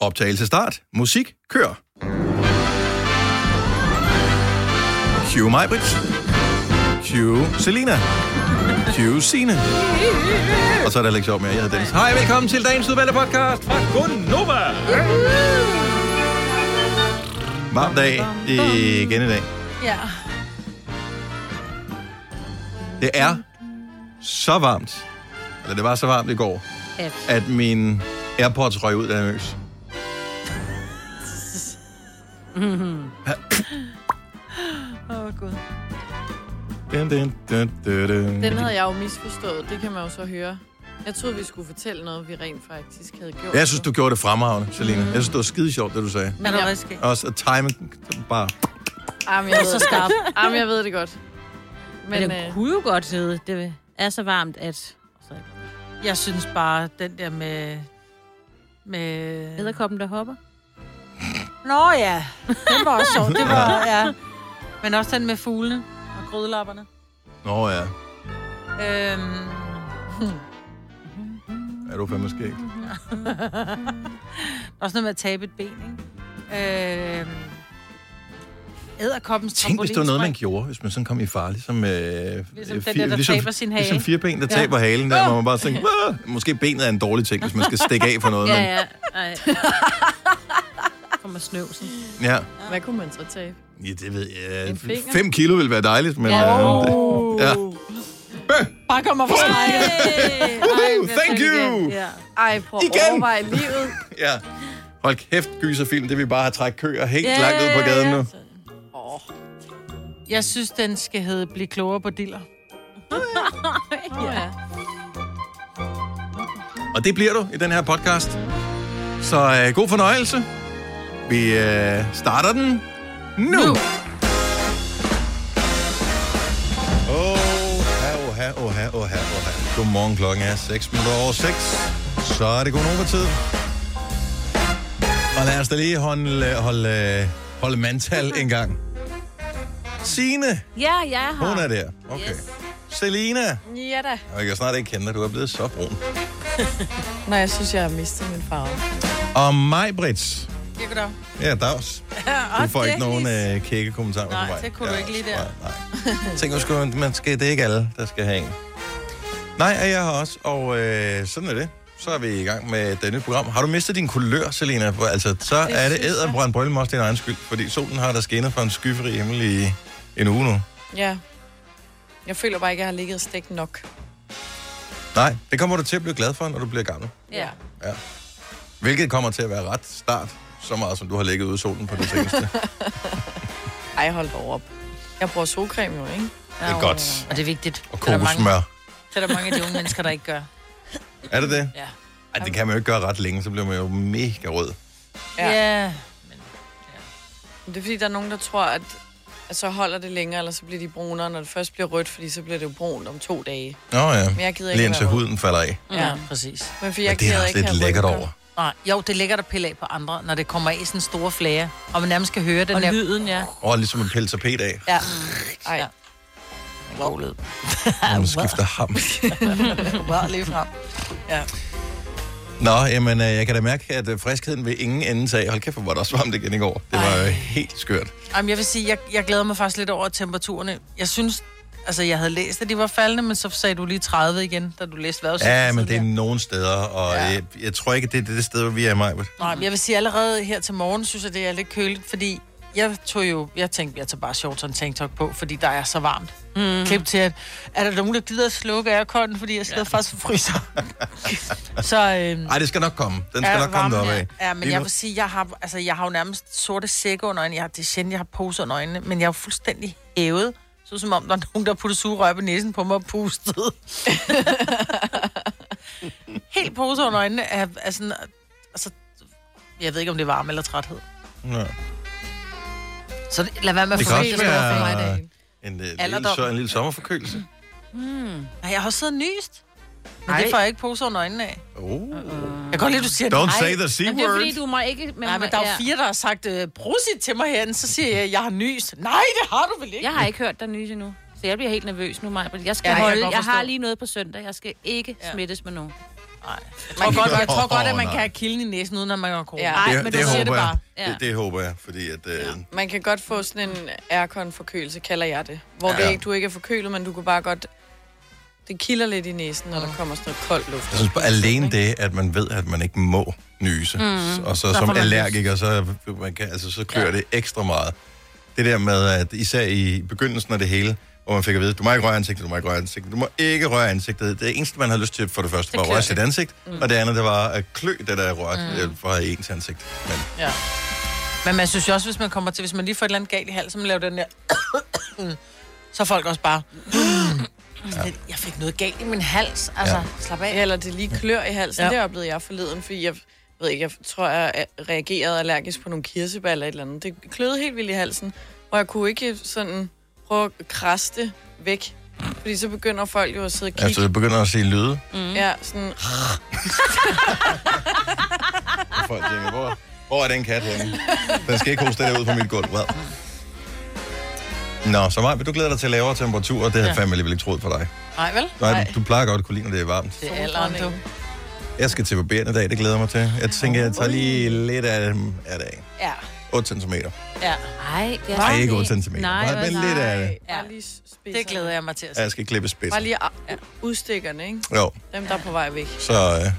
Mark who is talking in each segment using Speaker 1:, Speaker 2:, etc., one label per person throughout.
Speaker 1: Optagelse start. Musik kør. Cue Majbrit. Cue Selina. Cue Sine. Og så er der Alex op med, jeg hedder Dennis. Hej, velkommen til dagens udvalgte podcast fra Gunnova. Varm dag igen i dag.
Speaker 2: Ja.
Speaker 1: Det er så varmt, eller det var så varmt i går,
Speaker 2: At.
Speaker 1: at min AirPods røg ud af en øs.
Speaker 2: Åh, oh, Gud.
Speaker 1: Dun, dun, dun, dun, dun.
Speaker 2: Den havde jeg jo misforstået, det kan man jo så høre. Jeg troede, vi skulle fortælle noget, vi rent faktisk havde gjort.
Speaker 1: Jeg synes, du gjorde det fremragende, Selina. Jeg synes, det var skide sjovt, det du sagde.
Speaker 2: Men jeg,
Speaker 1: Også at timing bare...
Speaker 2: ah, men jeg, ved
Speaker 3: Så
Speaker 2: det
Speaker 3: skarp.
Speaker 2: godt. Ah, men jeg ved det godt. Men,
Speaker 3: Men
Speaker 2: men
Speaker 3: det
Speaker 2: øh,
Speaker 3: kunne jo godt hedde, det er så varmt, at... Jeg synes bare, den der med... Med...
Speaker 4: Æderkoppen, der hopper.
Speaker 3: Nå ja, den var også sjov. Det var, ja. Men også den med fuglene og grødlapperne.
Speaker 1: Nå ja,
Speaker 3: Øhm,
Speaker 1: er du fandme skæg.
Speaker 3: også noget med at tabe et ben, ikke? Øhm, æderkoppens
Speaker 1: Tænk, hvis det var noget, man
Speaker 3: trampolinspring.
Speaker 1: gjorde, hvis man sådan kom i farlig, som... Øh,
Speaker 3: Ligesom den der, der taber sin hage,
Speaker 1: Ligesom
Speaker 3: ikke?
Speaker 1: fire ben, der
Speaker 3: Ja. Ah!
Speaker 1: taber halen, der, hvor man bare tænker, "Åh!" måske benet er en dårlig ting, hvis man skal stikke af for noget.
Speaker 4: Ja,
Speaker 1: men,
Speaker 4: ja. Ej. Kommer snøvsen.
Speaker 1: ja.
Speaker 2: hvad kunne man så tage?
Speaker 1: ja, det ved jeg.
Speaker 2: En finger?
Speaker 1: 5 kilo ville være dejligt, men...
Speaker 2: Ja.
Speaker 1: øh,
Speaker 3: Oh.
Speaker 1: det- ja.
Speaker 3: Bare kommer fra strækket.
Speaker 1: Thank you!
Speaker 3: Ja.
Speaker 2: Ej, prøv at
Speaker 1: Igen!
Speaker 2: overveje livet.
Speaker 1: Ja. Hold kæft, gyserfilm, det vil bare have trække køer helt
Speaker 3: Ja,
Speaker 1: langt ud på gaden
Speaker 3: ja.
Speaker 1: nu.
Speaker 2: Oh,
Speaker 3: Jeg synes, den skal hedde Bliv klogere på diller.
Speaker 2: ja.
Speaker 1: Og det bliver du i den her podcast. Så øh, god fornøjelse. Vi øh, starter den nu. nu. Oha, oha, oha, oha, oha. Godmorgen, klokken er 6 minutter over 6. Så er det god tid. Og lad os da lige øh, holde, holde, holde mandtal en gang. Signe,
Speaker 4: Ja, jeg er her.
Speaker 1: hun er der. Okay.
Speaker 4: Yes.
Speaker 1: Selina,
Speaker 2: ja da.
Speaker 1: og jeg kan snart ikke kende dig, du er blevet så brun.
Speaker 2: Nej, jeg synes, jeg har mistet min farve.
Speaker 1: Og mig, Brits.
Speaker 3: Jeg kan da.
Speaker 1: Ja, dags. Du får ikke nogen øh, kække kommentarer
Speaker 3: Nej,
Speaker 1: på mig.
Speaker 3: det kunne du ikke lige der.
Speaker 1: Nej, nej. Tænk, man skulle, man skal, det er ikke alle, der skal have en. Nej, og jeg har også, og øh, sådan er det. Så er vi i gang med denne program. Har du mistet din kulør, Selena? For, Altså, så er det
Speaker 2: synes jeg.
Speaker 1: æderbrændt brølle også din egen skyld, fordi solen har der skinnet fra en skyfri himmel i en uge nu.
Speaker 2: Ja. Jeg føler bare ikke, jeg har ligget stegt nok.
Speaker 1: Nej, det kommer du til at blive glad for, når du bliver gammel.
Speaker 4: Ja.
Speaker 1: Ja. Hvilket kommer til at være ret start, så meget som du har ligget ude i solen på det seneste.
Speaker 2: Ej, hold dog op. Jeg bruger solcreme jo, ikke?
Speaker 1: Det er godt.
Speaker 3: Og det er vigtigt.
Speaker 1: Og
Speaker 3: Det er der mange,
Speaker 1: kokosmør.
Speaker 3: det er der mange af de unge mennesker, der ikke gør.
Speaker 1: Er det det?
Speaker 3: Ja.
Speaker 1: Ej, det kan man jo ikke gøre ret længe, så bliver man jo mega rød.
Speaker 2: Ja.
Speaker 3: ja.
Speaker 2: Men Det er fordi, der er nogen, der tror, at, at så holder det længere, eller så bliver de brunere, når det først bliver rødt, fordi så bliver det jo brunt om to dage.
Speaker 1: Nå ja,
Speaker 2: Men jeg gider ikke
Speaker 1: lige indtil
Speaker 2: være rød.
Speaker 1: huden falder af.
Speaker 3: Ja, præcis.
Speaker 2: Men fordi
Speaker 1: Men
Speaker 2: jeg
Speaker 1: det er
Speaker 2: gider
Speaker 1: også
Speaker 2: ikke
Speaker 1: lidt
Speaker 2: have
Speaker 1: lækkert
Speaker 2: rynker.
Speaker 1: over.
Speaker 3: Nej, jo, det er lækkert at pille af på andre, når det kommer af i sådan store flager, og man nærmest skal høre den
Speaker 4: Og
Speaker 3: der...
Speaker 4: lyden, ja.
Speaker 1: Og ligesom en peltapet af,
Speaker 3: Ja.
Speaker 2: Ej,
Speaker 3: Ja. God lyd.
Speaker 1: når man skifter ham.
Speaker 3: Wow, lige frem.
Speaker 1: Nå, jamen, øh, jeg kan da mærke, at øh, friskheden vil ingen ende tage. Hold kæft, hvor var det også varmt igen i går. Det var jo helt skørt.
Speaker 3: Jamen, jeg vil sige, jeg, jeg glæder mig faktisk lidt over temperaturerne. Jeg synes, altså jeg havde læst, at de var faldende, men så sagde du lige 30 igen, da du læste vejrudsigten.
Speaker 1: Ja, men det er
Speaker 3: tidligere.
Speaker 1: nogle steder, og jeg, jeg tror ikke, det er det sted, hvor vi er i maj.
Speaker 3: Nej, men jeg vil sige, allerede her til morgen, synes jeg, det er lidt køligt, fordi jeg tog jo, jeg tænkte, jeg tager bare shorts og en tanktop på, fordi der er så varmt. Mm. Klip til, at er der nogen, der gider at slukke airconen, fordi jeg sidder ja. faktisk og fryser. så, øhm,
Speaker 1: Ej, det skal nok komme. Den skal
Speaker 3: Ja,
Speaker 1: nok komme
Speaker 3: varmen,
Speaker 1: derop
Speaker 3: ja.
Speaker 1: af.
Speaker 3: Ja, men
Speaker 1: Lige
Speaker 3: jeg
Speaker 1: nu-
Speaker 3: vil sige, jeg har, altså, jeg har jo nærmest sorte sække under øjnene. Jeg har, det er sjældent, jeg har poser under øjnene, men jeg er jo fuldstændig hævet. Så som om, der er nogen, der putter sugerør på næsen på mig og pustede. Helt poser under øjnene er, er sådan... Altså, jeg ved ikke, om det er varme eller træthed.
Speaker 1: Nå.
Speaker 3: Så det- lad være med at
Speaker 1: Det kan
Speaker 3: forvente
Speaker 1: også
Speaker 3: det store for mig i
Speaker 1: være
Speaker 3: dag.
Speaker 1: en, en, øh, lille,
Speaker 3: Alderdom.
Speaker 1: så, en lille sommerforkølelse.
Speaker 3: Nej, jeg har også siddet og nyst. Men
Speaker 4: Hmm. Ej.
Speaker 3: det får jeg ikke poser under øjnene af.
Speaker 1: Oh.
Speaker 3: Jeg kan godt lide, at du siger
Speaker 1: Don't
Speaker 3: nej.
Speaker 1: say the C
Speaker 4: Jamen, det er fordi,
Speaker 1: word.
Speaker 4: du må ikke... Man
Speaker 3: Nej,
Speaker 4: må-
Speaker 3: men der er jo fire, der har sagt, øh, brusit til mig herinde, så siger jeg, jeg har nys. Nej, det har du vel ikke?
Speaker 4: Ja. Jeg har ikke hørt dig nyse endnu. Så jeg bliver helt nervøs nu, Maja. Jeg skal
Speaker 3: Ja,
Speaker 4: ja,
Speaker 3: jeg kan
Speaker 4: holde... Jeg,
Speaker 3: godt
Speaker 4: jeg
Speaker 3: forstå.
Speaker 4: har lige noget på søndag. Jeg skal ikke ja. smittes med nogen.
Speaker 3: Nej. Man kan godt, jeg tror godt, at man
Speaker 1: Åh,
Speaker 3: kan
Speaker 1: nej.
Speaker 3: have kilden i næsen, uden at man har corona.
Speaker 2: Ja.
Speaker 3: Nej,
Speaker 1: det,
Speaker 3: men
Speaker 1: det,
Speaker 3: du siger
Speaker 1: håber
Speaker 3: det bare.
Speaker 1: Jeg.
Speaker 4: Ja.
Speaker 1: Det, det håber jeg, fordi at... Øh,
Speaker 2: Man kan godt få sådan en aircon-forkølelse, kalder jeg det. Hvor ja.
Speaker 1: Ja.
Speaker 2: det ikke, du ikke er forkølet, men du kan bare godt... Det kilder lidt i næsen,
Speaker 3: Mm.
Speaker 2: når der kommer sådan noget koldt luft.
Speaker 1: Jeg synes bare, alene det, at man ved, at man ikke må nyse, mm. og så,
Speaker 3: får
Speaker 1: som
Speaker 3: man
Speaker 1: allergiker, så, man kan, altså, så klør ja. det ekstra meget. Det der med, at især i begyndelsen af det hele, hvor man fik at vide, du må ikke røre ansigtet, du må ikke røre ansigtet, du må ikke røre ansigtet. Det eneste, man havde lyst til for det første, var at
Speaker 4: klør
Speaker 1: røre
Speaker 4: det.
Speaker 1: sit ansigt, mm. og det andet, det var at klø det, der er rørt mm. fra ens ansigt. Men
Speaker 3: Ja. Men man synes jo også, hvis man kommer til, hvis man lige får et eller andet galt i halsen, man laver den der... så er folk også bare... Sådan lidt, Jeg fik noget galt i min hals. Altså,
Speaker 1: Ja.
Speaker 3: ja. slap af.
Speaker 2: Eller det lige klør i halsen,
Speaker 3: Ja.
Speaker 2: ja. det oplevede jeg forleden, fordi jeg ved ikke, jeg tror, jeg reagerede allergisk på nogle kirsebær eller et eller andet. Det kløede helt vildt i halsen, og jeg kunne ikke sådan prøve at krasse det væk. Fordi så begynder folk jo at sidde og kigge.
Speaker 1: altså, det begynder at se lyde,
Speaker 3: Mm.
Speaker 2: Ja, sådan,
Speaker 1: og folk tænker, hvor, hvor er den kat henne? Den skal ikke hoste det ud på mit gulv. Hvad? Nå, så meget. Vil du glæde dig til lavere temperaturer? Det havde jeg fandme alligevel ikke troet for dig.
Speaker 3: Nej, vel?
Speaker 1: Nej, du plejer godt at kunne lide, når det er varmt.
Speaker 3: Det er alderen, du.
Speaker 1: Jeg skal til barberen i dag, det glæder jeg mig til. Jeg tænker, jeg tager lige lidt af, af det af.
Speaker 3: Ja.
Speaker 1: 8 cm.
Speaker 3: ja.
Speaker 4: Nej, det er
Speaker 1: Nej, ikke
Speaker 4: det
Speaker 1: 8 cm.
Speaker 4: Nej,
Speaker 1: Nej, men
Speaker 4: nej.
Speaker 1: lidt af det.
Speaker 3: Ja.
Speaker 2: bare lige spidserne.
Speaker 3: Det glæder jeg mig til at
Speaker 1: Ja,
Speaker 3: se.
Speaker 1: Jeg skal klippe spids.
Speaker 2: Bare lige ja. udstikkerne, ikke?
Speaker 1: Jo,
Speaker 2: Dem, der er på vej væk.
Speaker 1: så... Øh,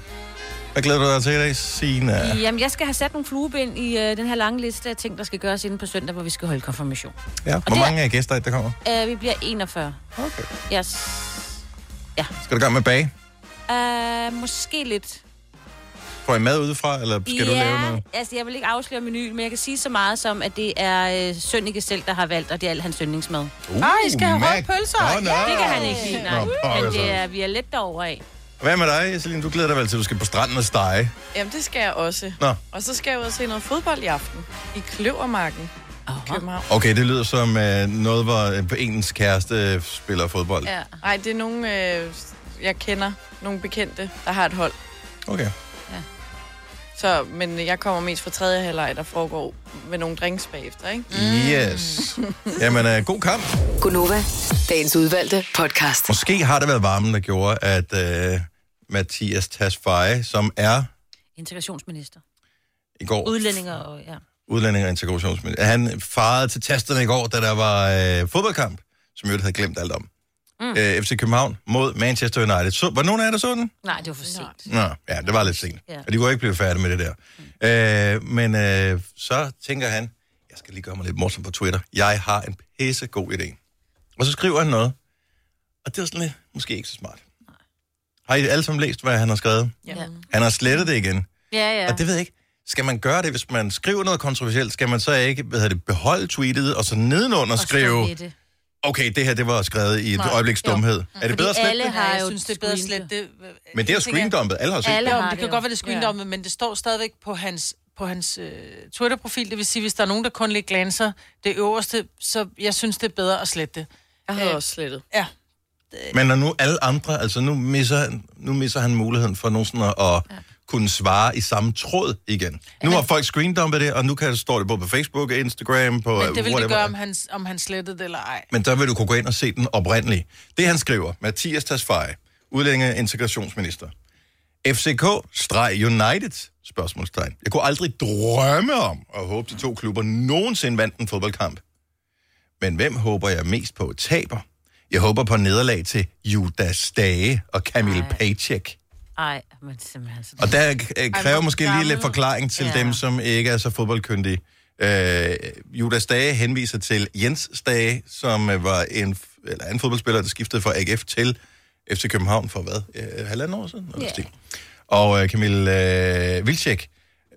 Speaker 1: hvad glæder du dig til i dag, Signe?
Speaker 4: Jamen, jeg skal have sat nogle flueben i øh, den her lange liste af ting, der skal gøres inden på søndag, hvor vi skal holde konfirmation.
Speaker 1: Ja, hvor
Speaker 4: det-
Speaker 1: mange af gæster, der kommer?
Speaker 4: Øh, vi bliver 41.
Speaker 1: Okay.
Speaker 4: Yes.
Speaker 1: Skal du i gang med bage?
Speaker 4: Øh, måske lidt.
Speaker 1: Får I mad udefra, eller skal du
Speaker 4: ja,
Speaker 1: lave noget?
Speaker 4: altså jeg vil ikke afsløre menuen, men jeg kan sige så meget som, at det er øh, Sønneke selv, der har valgt, og det er al hans yndlingsmad.
Speaker 1: Uh,
Speaker 3: Ej, I skal have røde pølser.
Speaker 1: Nå, nå. Altså.
Speaker 4: Det kan han ikke lide, nej.
Speaker 1: Nå, pokker
Speaker 4: Men
Speaker 1: så.
Speaker 4: det er, vi er lidt derovre af.
Speaker 1: Hvad med dig, Celine? Du glæder dig vel til, at du skal på stranden og stege.
Speaker 2: Jamen, det skal jeg også.
Speaker 1: Nå,
Speaker 2: Og så skal jeg ud og se noget fodbold i aften. I Kløvermarken. i København.
Speaker 1: okay, det lyder som øh, noget, hvor øh, ens kæreste øh, spiller fodbold.
Speaker 4: Ja.
Speaker 2: Nej, det er nogen, øh, jeg kender. Nogle bekendte, der har et hold.
Speaker 1: Okay.
Speaker 2: Så, men jeg kommer mest fra tredje halvleg, der foregår med nogle drinks bagefter, ikke?
Speaker 1: Mm.
Speaker 3: Mm.
Speaker 4: Mm.
Speaker 1: Yes. Jamen, øh, god kamp.
Speaker 5: Gunova, dagens udvalgte podcast.
Speaker 1: Måske har det været varmen, der gjorde, at øh, Mathias Tasfaye, som er
Speaker 4: Integrationsminister.
Speaker 1: i går
Speaker 4: Udlændinger og ja.
Speaker 1: udlænding og integrationsminister, han farede til tasterne i går, da der var øh, fodboldkamp, som jeg havde glemt alt om. Mm. Øh, FC København mod Manchester United. Så, var nogen af jer, der så den?
Speaker 4: Nej, det var for sent.
Speaker 1: Nå, ja, det var lidt sent. Ja.
Speaker 4: Ja.
Speaker 1: Og de kunne ikke blive færdige med det der. Øh, men øh, så tænker han, jeg skal lige gøre mig lidt morsom på Twitter. Jeg har en pissegod idé. Og så skriver han noget. Og det er sådan lidt, måske ikke så smart. Har I alle sammen læst, hvad han har skrevet?
Speaker 4: Ja,
Speaker 1: Han har slettet det igen.
Speaker 4: ja. ja.
Speaker 1: Og det ved jeg ikke. Skal man gøre det, hvis man skriver noget kontroversielt? Skal man så ikke hvad hedder det, beholde tweetet, og så nedenunder og
Speaker 4: Og stå
Speaker 1: skrive,
Speaker 4: ved det.
Speaker 1: okay, det her det var skrevet i et
Speaker 4: Nej,
Speaker 1: øjebliks
Speaker 4: jo. Mm.
Speaker 1: dumhed. Er det
Speaker 4: Fordi
Speaker 1: bedre at slette
Speaker 4: alle
Speaker 1: det?
Speaker 4: har
Speaker 3: Nej, jeg
Speaker 4: jo
Speaker 3: synes, det er bedre
Speaker 4: screenet.
Speaker 3: slet. Det,
Speaker 1: Men det er jo screendumpet. Alle har set
Speaker 4: Alle
Speaker 1: det.
Speaker 3: Jo, men det
Speaker 4: har det
Speaker 3: kan
Speaker 4: jo.
Speaker 3: godt være, det er screendommet, men det står stadigvæk på hans, på hans øh, Twitter-profil. Det vil sige, hvis der er nogen, der kun lige glanser det øverste, så jeg synes, det er bedre at slette det. Øh,
Speaker 2: Jeg havde også slettet.
Speaker 3: Ja. Øh,
Speaker 1: Men når nu alle andre, altså nu misser, nu misser han muligheden for nogen sådan at, at ja. kunne svare i samme tråd igen. Nu har folk screendumpet det, og nu kan står det både på Facebook, Instagram, på
Speaker 3: Men det vil
Speaker 1: whatever.
Speaker 3: det gøre, om han, om han slettede det eller ej.
Speaker 1: Men der vil du kunne gå ind og se den oprindelige. Det han skriver, Mathias Tasfaye, udlændinge og integrationsminister. FCK-United? Spørgsmålstegn. Jeg kunne aldrig drømme om at håbe, de to klubber nogensinde vandt en fodboldkamp. Men hvem håber jeg mest på taber? Jeg håber på nederlag til Judas Dage og Camille
Speaker 4: Ej.
Speaker 1: Paycheck.
Speaker 4: Ej, men simpelthen. Så...
Speaker 1: Og der øh, kræver
Speaker 3: hvor
Speaker 1: måske lige lidt
Speaker 3: gammel.
Speaker 1: forklaring til ja.
Speaker 4: Ja.
Speaker 1: dem, som ikke er så fodboldkyndige. Øh, Judas Dage henviser til Jens Dage, som øh, var en, f- eller en fodboldspiller, der skiftede fra AGF til FC København for hvad? Øh, halvanden år siden? Noget
Speaker 4: Ja.
Speaker 1: yeah. Og øh, Camille øh, Vilcek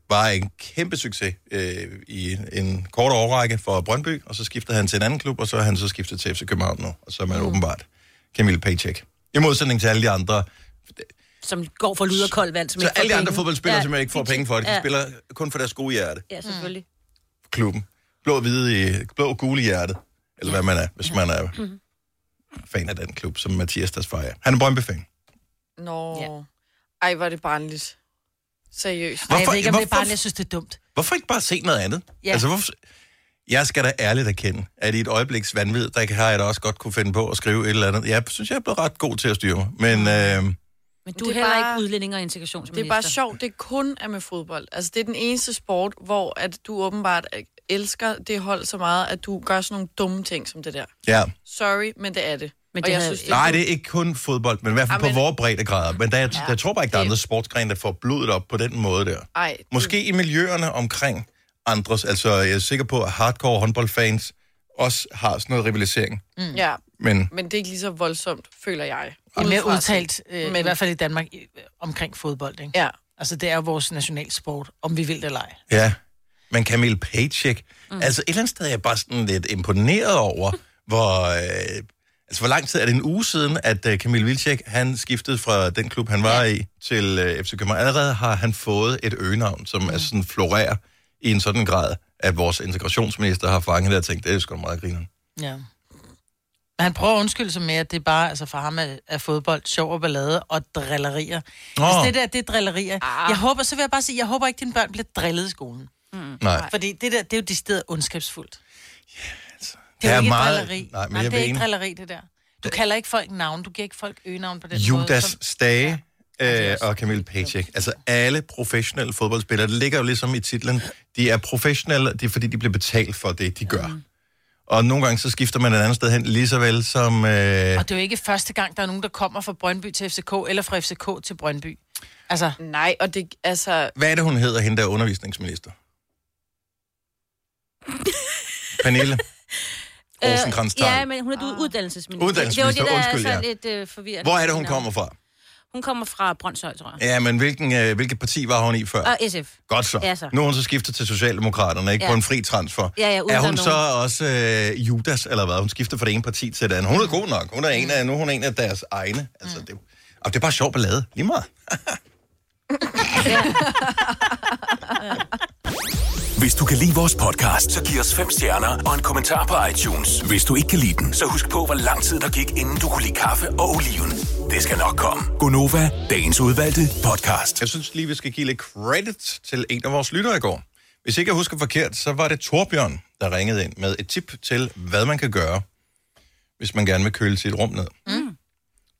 Speaker 1: var en kæmpe succes øh, i en, en kort årrække for Brøndby, og så skiftede han til en anden klub, og så er han så skiftet til FC København nu, og så er man mm. åbenbart Camille Paycheck. I modsætning til alle de andre
Speaker 4: Som går for lyd og koldt vand, som
Speaker 1: så
Speaker 4: ikke får
Speaker 1: alle de andre
Speaker 4: penge.
Speaker 1: fodboldspillere, ja, som ikke får
Speaker 4: de-
Speaker 1: penge for det, de
Speaker 4: ja.
Speaker 1: spiller kun for deres gode hjerte.
Speaker 4: Ja, selvfølgelig.
Speaker 1: Klubben. Blå, hvide, i- blå og gule i hjertet. Eller hvad man er, hvis man er
Speaker 3: Mhm.
Speaker 1: fan af den klub, som Mathias Dasfajer. Han er Brøndby-fan.
Speaker 2: Nå.
Speaker 3: Ja.
Speaker 2: Ja. Ej, var det barnligt. Seriøst.
Speaker 3: Ej, jeg
Speaker 1: Hvorfor-
Speaker 3: ved ikke, om det er
Speaker 1: hvorfor-
Speaker 3: bare, jeg synes, det er dumt.
Speaker 1: Hvorfor ikke bare se noget andet?
Speaker 3: Ja.
Speaker 1: Altså, hvorfor... Jeg skal da ærligt erkende, at i et øjebliks vanvid, der har jeg da også godt kunne finde på at skrive et eller andet. Jeg synes, jeg er blevet ret god til at styre mig. Men øh,
Speaker 4: Men du
Speaker 2: det
Speaker 4: er
Speaker 2: er
Speaker 4: heller bare,
Speaker 2: bare-
Speaker 4: ikke udlænding og
Speaker 2: Det
Speaker 4: integrationsminister.
Speaker 2: er bare sjovt, det kun er med fodbold. Altså, det er den eneste sport, hvor at du åbenbart øh, elsker det hold så meget, at du gør sådan nogle dumme ting som det der.
Speaker 1: Ja.
Speaker 2: Sorry, men det er det.
Speaker 4: Men
Speaker 2: Og
Speaker 4: det
Speaker 2: jeg
Speaker 4: havde-
Speaker 2: synes,
Speaker 1: Nej, det er ikke kun fodbold, men i hvert fald på
Speaker 2: Amen.
Speaker 1: vores breddegrader. Men der, jeg, jeg tror bare ikke, der er
Speaker 2: det-
Speaker 1: andre sportsgrene, der får blodet op på den måde der.
Speaker 2: Ej,
Speaker 1: Måske i miljøerne omkring andres. Altså, jeg er sikker på, at hardcore håndboldfans også har sådan noget rivalisering.
Speaker 4: Mm.
Speaker 2: det, ja,
Speaker 1: Men
Speaker 2: men det er ikke lige så voldsomt, føler jeg.
Speaker 3: I mere
Speaker 2: Udefra set.
Speaker 3: udtalt, øh, men... i
Speaker 2: Men-
Speaker 3: hvert fald i Danmark, i, øh, omkring fodbold, ikke?
Speaker 2: Ja.
Speaker 3: Altså, det er jo vores nationalsport, om vi vil det eller ej.
Speaker 1: Ja, men Camille Paycheck, mm. altså et eller andet sted er jeg bare sådan lidt imponeret over, hvor, øh, altså hvor lang tid er det en uge siden, at øh, Camille Vilcek, han skiftede fra den klub, han var ja. i, til øh, FC København. Allerede har han fået et øgenavn, som mm. er sådan florerer i en sådan grad, at vores integrationsminister har fanget det og tænkt, det er sgu da meget griner.
Speaker 3: Ja. Men han prøver at undskylde sig med, at det er bare, altså for ham er, er fodbold sjov og ballade og drillerier.
Speaker 1: Nå.
Speaker 3: Oh. Hvis det der, det er drillerier. Ah. Mm. Jeg håber, så vil jeg bare sige, jeg håber ikke, dine børn bliver drillet i skolen.
Speaker 1: Nej,
Speaker 3: Fordi det der, det er jo decideret ondskabsfuldt. Det
Speaker 1: altså. Der
Speaker 3: er,
Speaker 1: er
Speaker 3: jo ikke
Speaker 1: meget-
Speaker 3: meget... drilleri.
Speaker 1: Nej, men
Speaker 3: Nej,
Speaker 1: jeg
Speaker 3: det
Speaker 1: vil
Speaker 3: er ikke
Speaker 1: enig.
Speaker 3: drilleri, det der. Du kalder ikke folk navn, du giver ikke folk øgenavn på den måde.
Speaker 1: Judas
Speaker 3: som-
Speaker 1: Stage
Speaker 3: det er
Speaker 1: øh,
Speaker 3: også
Speaker 1: og Camille Paycheck. Altså alle professionelle fodboldspillere, det ligger jo ligesom i titlen, de er professionelle, det er fordi, de bliver betalt for det, de
Speaker 3: Mm.
Speaker 1: gør. Og nogle gange så skifter man et andet sted hen, lige så vel som... Øh,
Speaker 3: Og det er jo ikke første gang, der er nogen, der kommer fra Brøndby til FCK, eller fra FCK til Brøndby. Altså,
Speaker 2: Nej, og det, altså,
Speaker 1: hvad er det, hun hedder, hende der er undervisningsminister? Pernille
Speaker 3: Øh,
Speaker 1: Rosenkrantz
Speaker 4: Ja,
Speaker 1: ja,
Speaker 4: men hun er ah. uddannelsesminister.
Speaker 1: Uddannelsesminister,
Speaker 4: det var det, der
Speaker 1: undskyld,
Speaker 4: er
Speaker 1: ja.
Speaker 4: sådan lidt øh, forvirrende.
Speaker 1: Hvor er det, hun kommer fra?
Speaker 4: Hun kommer fra Brøndshøj, tror jeg.
Speaker 1: Ja, men hvilken, øh, hvilket parti var hun i før?
Speaker 4: Og SF.
Speaker 1: Godt så.
Speaker 4: Ja, så.
Speaker 1: Nu er hun så skiftet til Socialdemokraterne, ikke? Ja.
Speaker 4: Ja.
Speaker 1: På en fri transfer.
Speaker 4: Ja, ja, uden
Speaker 1: er
Speaker 4: der
Speaker 1: hun
Speaker 4: er
Speaker 1: så også øh, Judas, eller hvad? Hun skifter fra det ene parti til det andet. Hun er god nok. Hun er en
Speaker 4: Mm.
Speaker 1: af, nu er hun en af deres egne. Altså, det, og det er bare sjov ballade. Lige meget.
Speaker 6: Hvis du kan lide vores podcast, så giv os fem stjerner og en kommentar på iTunes. Hvis du ikke kan lide den, så husk på, hvor lang tid der gik, inden du kunne lide kaffe og oliven. Det skal nok komme. Gonova, dagens udvalgte podcast.
Speaker 1: Jeg synes lige, vi skal give lidt credit til en af vores lyttere i går. Hvis ikke jeg husker forkert, så var det Torbjørn, der ringede ind med et tip til, hvad man kan gøre, hvis man gerne vil køle sit rum ned. Mm.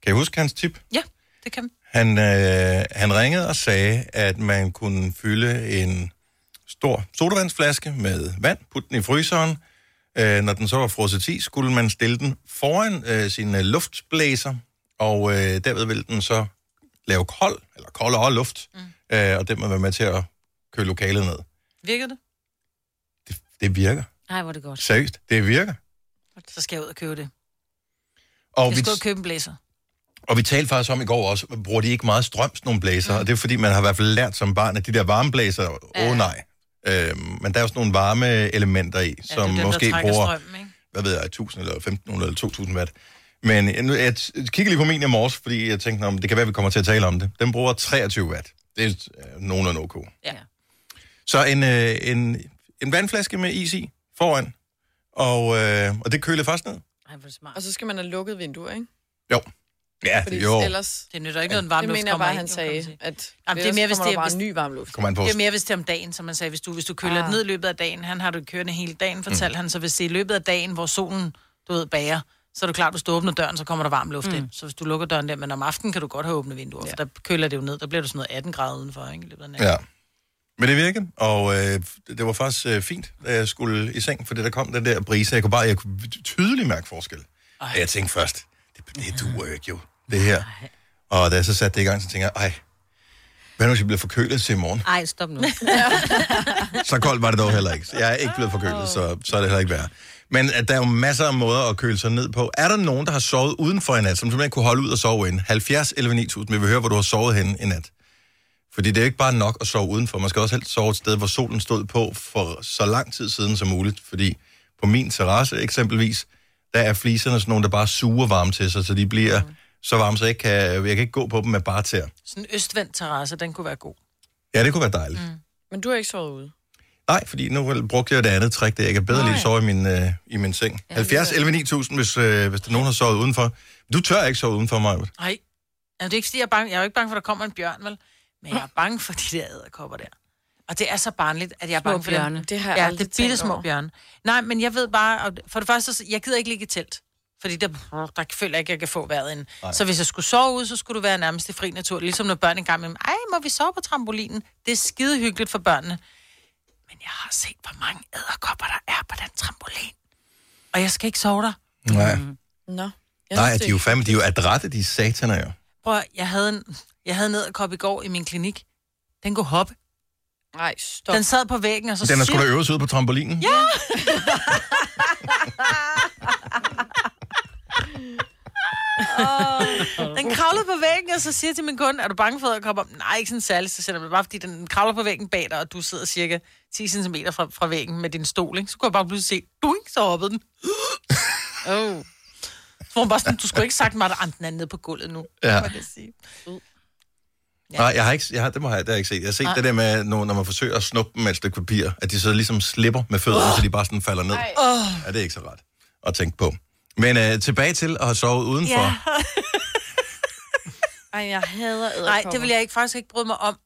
Speaker 1: Kan I huske hans tip?
Speaker 3: ja, det kan
Speaker 1: Han, øh, han ringede og sagde, at man kunne fylde en stor sodavandsflaske med vand, putte den i fryseren. Øh, når den så var frosset i, skulle man stille den foran øh, sin øh, luftblæser, og øh, derved ville den så lave kold, eller koldere luft, mm. øh, og den må være med til at køle lokalet ned.
Speaker 3: Virker det?
Speaker 1: Det, det virker.
Speaker 4: Nej, hvor er det godt.
Speaker 1: Seriøst, det virker.
Speaker 3: Så skal jeg ud og købe det.
Speaker 1: Og
Speaker 3: Jeg
Speaker 1: vi,
Speaker 3: skal ud og købe en blæser.
Speaker 1: Og vi talte faktisk om i går også, bruger de ikke meget strøm, sådan nogle blæser? Mm. Og det er fordi, man har i hvert fald lært som barn, at de der varmeblæser, åh ja. oh, nej. Øhm, men der er jo sådan nogle varme elementer i,
Speaker 3: Ja,
Speaker 1: ja, som
Speaker 3: det er dem,
Speaker 1: måske
Speaker 3: der trækker
Speaker 1: bruger,
Speaker 3: strømmen, ikke?
Speaker 1: hvad ved jeg, 1000 eller 1500 eller 2000 watt. Men jeg, nu, jeg t- kigger lige på min i morges, fordi jeg tænkte, om det kan være, vi kommer til at tale om det. Den bruger 23 watt. Det er øh, nogenlunde ok.
Speaker 4: Ja.
Speaker 1: Så en, øh, en, en vandflaske med is i foran, og, øh, og det køler først ned.
Speaker 4: Ej, hvor er det smart.
Speaker 2: og så skal man have lukket vinduer, ikke?
Speaker 1: Jo. Ja,
Speaker 2: Fordi
Speaker 1: jo.
Speaker 2: ellers,
Speaker 3: Det nytter ikke noget, en
Speaker 2: det
Speaker 3: varm luft
Speaker 2: mener jeg
Speaker 3: kommer
Speaker 2: bare,
Speaker 3: ind,
Speaker 2: han
Speaker 3: jo, kan man
Speaker 2: sagde,
Speaker 3: sige.
Speaker 2: at
Speaker 3: Jamen, det er mere, hvis
Speaker 2: ellers kommer
Speaker 3: det
Speaker 2: der
Speaker 3: er-
Speaker 2: bare
Speaker 3: hvis-
Speaker 2: ny varm luft.
Speaker 1: Kommer an på,
Speaker 3: Det er mere, hvis det er om dagen, som man sagde, hvis du, hvis du køler ah. ned i løbet af dagen, han har det kørende hele dagen, fortalte mm. han, så hvis det er i løbet af dagen, hvor solen, du ved, bager, så er det klart, hvis du åbner døren, så kommer der varm luft mm. ind. Så hvis du lukker døren der, men om aftenen kan du godt have åbne vinduer, ja. for der køler det jo ned, der bliver du sådan noget 18 grader udenfor, ikke? I løbet af natten.
Speaker 1: Ja. Men det virkede, og øh, det var faktisk øh, fint, da jeg skulle i seng, fordi der kom den der brise. Jeg kunne bare jeg kunne tydeligt mærke forskel. Ej. Jeg tænkte først, det, det duer jo ikke jo, det her. Og da jeg så satte det i gang, så tænkte jeg, ej, hvad nu hvis jeg bliver forkølet til i morgen?
Speaker 4: Ej, stop nu.
Speaker 1: Så koldt var det dog heller ikke. Jeg er ikke blevet forkølet, så, så er det heller ikke værre. Men at der er jo masser af måder at køle sig ned på. Er der nogen, der har sovet udenfor i nat, som simpelthen kunne holde ud og sove inde? 70 11 9000, vi vil høre, hvor du har sovet henne i nat. Fordi det er jo ikke bare nok at sove udenfor. Man skal også helst sove et sted, hvor solen stod på for så lang tid siden som muligt. Fordi på min terrasse eksempelvis, der er fliserne sådan nogle, der bare suger varme til sig, så de bliver mm. så varme, så jeg ikke kan, jeg kan ikke gå på dem med bare tæer.
Speaker 3: Sådan en østvendt terrasse, den kunne være god.
Speaker 1: Ja, det kunne være dejligt. Mm.
Speaker 2: Men du har ikke sovet ude.
Speaker 1: Nej, fordi nu brugte jeg det andet trick, der jeg kan bedre lige sove i min, øh, i min seng. Ja, 70 11 9000, hvis, øh, hvis der er nogen har sovet udenfor. Du tør ikke sove udenfor mig.
Speaker 3: Nej. Altså, det er ikke, fordi jeg er bange. Jeg er jo ikke bange for, at der kommer en bjørn, vel? Men jeg er bange for de der æderkopper der. Og det er så barnligt, at jeg er
Speaker 4: Små
Speaker 3: bange for
Speaker 4: bjørne.
Speaker 3: dem.
Speaker 2: Det har jeg
Speaker 3: ja,
Speaker 2: aldrig
Speaker 3: det er
Speaker 2: tænkt
Speaker 3: bitte små
Speaker 2: over.
Speaker 3: bjørne. Nej, men jeg ved bare, og for det første, så- jeg gider ikke ligge i telt. Fordi der, der føler jeg ikke, jeg kan få vejret ind. Så hvis jeg skulle sove ude, så skulle du være nærmest i fri natur. Ligesom når børn engang imellem, ej, må vi sove på trampolinen? Det er skide hyggeligt for børnene. Men jeg har set, hvor mange æderkopper der er på den trampolin. Og jeg skal ikke sove der.
Speaker 1: Nej,
Speaker 2: Nå. Jeg
Speaker 1: Nej
Speaker 2: synes,
Speaker 1: de er jo fandme, de er jo adrette, de sataner jo.
Speaker 3: Prøv, at- jeg havde en, jeg havde en æderkop i går i min klinik. Den kunne hoppe.
Speaker 2: Nej, stop.
Speaker 3: Den sad på væggen, og så
Speaker 1: Den er sgu
Speaker 3: Altså, siger-
Speaker 1: da øves ud på trampolinen. Ja.
Speaker 3: Den kravlede på væggen, og så siger jeg til min kunde, er du bange for æderkopper? Nej, ikke sådan særligt. Så siger jeg, bare fordi den kravler på væggen bag dig, og du sidder cirka 10 cm fra, fra væggen med din stol, ikke? så kunne jeg bare pludselig se, du ikke så hoppede den. Så
Speaker 2: Oh.
Speaker 3: var hun bare sådan, du skulle ikke sagt mig, at "Ah, den er nede på gulvet nu.
Speaker 1: Ja.
Speaker 3: Må jeg sige.
Speaker 1: Nej, jeg har ikke, jeg har, det må jeg, det har jeg ikke set. Jeg har set det der med, når, når man forsøger at snuppe dem med et stykke papir, at de så ligesom slipper med fødderne, så de bare sådan falder ned. Ja, det er ikke så rart at tænke på. Men øh, tilbage til at have sovet udenfor. Ja.
Speaker 2: Ej, jeg hader æderkopper.
Speaker 3: Nej, det vil jeg ikke, faktisk ikke bryde mig om.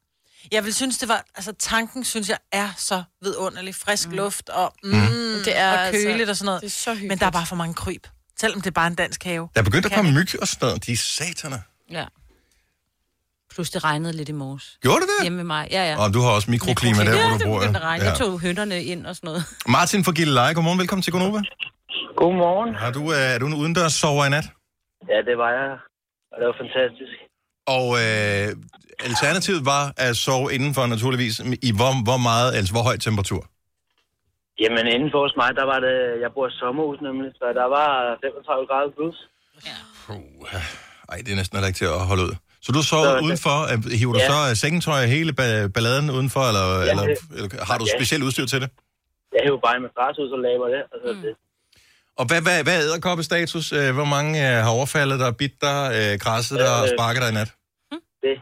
Speaker 3: Jeg vil synes, det var, altså tanken synes jeg er så vidunderlig. Frisk mm. luft og, mm, mm.
Speaker 2: Det er
Speaker 3: og køligt altså, og sådan noget.
Speaker 2: Det er så hyggeligt.
Speaker 3: Men der er bare for mange kryb. Selvom det er bare en dansk have.
Speaker 1: Der er begyndt at komme myg og sådan noget. De er sataner.
Speaker 4: Ja. Plus det regnede lidt i morges.
Speaker 1: Gjorde det det?
Speaker 4: Hjemme med mig. Ja, ja.
Speaker 1: Og du har også mikroklima der, hvor
Speaker 4: det
Speaker 1: du bor.
Speaker 4: begyndte at regne.
Speaker 1: ja.
Speaker 4: Jeg tog hønderne ind og sådan noget.
Speaker 1: Martin fra Gilleleje, godmorgen. Velkommen til Gonova.
Speaker 7: Godmorgen.
Speaker 1: Har du, øh, er du en udendørs sover i nat?
Speaker 7: Ja, det var jeg. Og det var fantastisk.
Speaker 1: Og øh, alternativet var at sove indenfor naturligvis i hvor, hvor meget, altså hvor høj temperatur?
Speaker 7: Jamen, inden for hos mig, der var det... Jeg bor i sommerhus nemlig, så der var 35 grader plus.
Speaker 1: Ej, det er næsten heller ikke til at holde ud. Så du
Speaker 7: Så er
Speaker 1: sover
Speaker 7: det-
Speaker 1: udenfor, Øh, hiver du
Speaker 7: Ja.
Speaker 1: så øh, sengetøj og hele ba- balladen udenfor, eller, ja,
Speaker 7: Ja,
Speaker 1: eller,
Speaker 7: det-
Speaker 1: eller har du
Speaker 7: ja.
Speaker 1: specielt udstyr til det?
Speaker 7: Jeg hævde bare en madras ud, så laver det. Og så mm. det.
Speaker 1: Og hvad, hvad, hvad er æderkoppestatus? Øh, Hvor mange øh, har overfaldet dig, bidt dig, øh, krasset dig og
Speaker 7: Øh,
Speaker 1: sparket dig i nat?
Speaker 7: det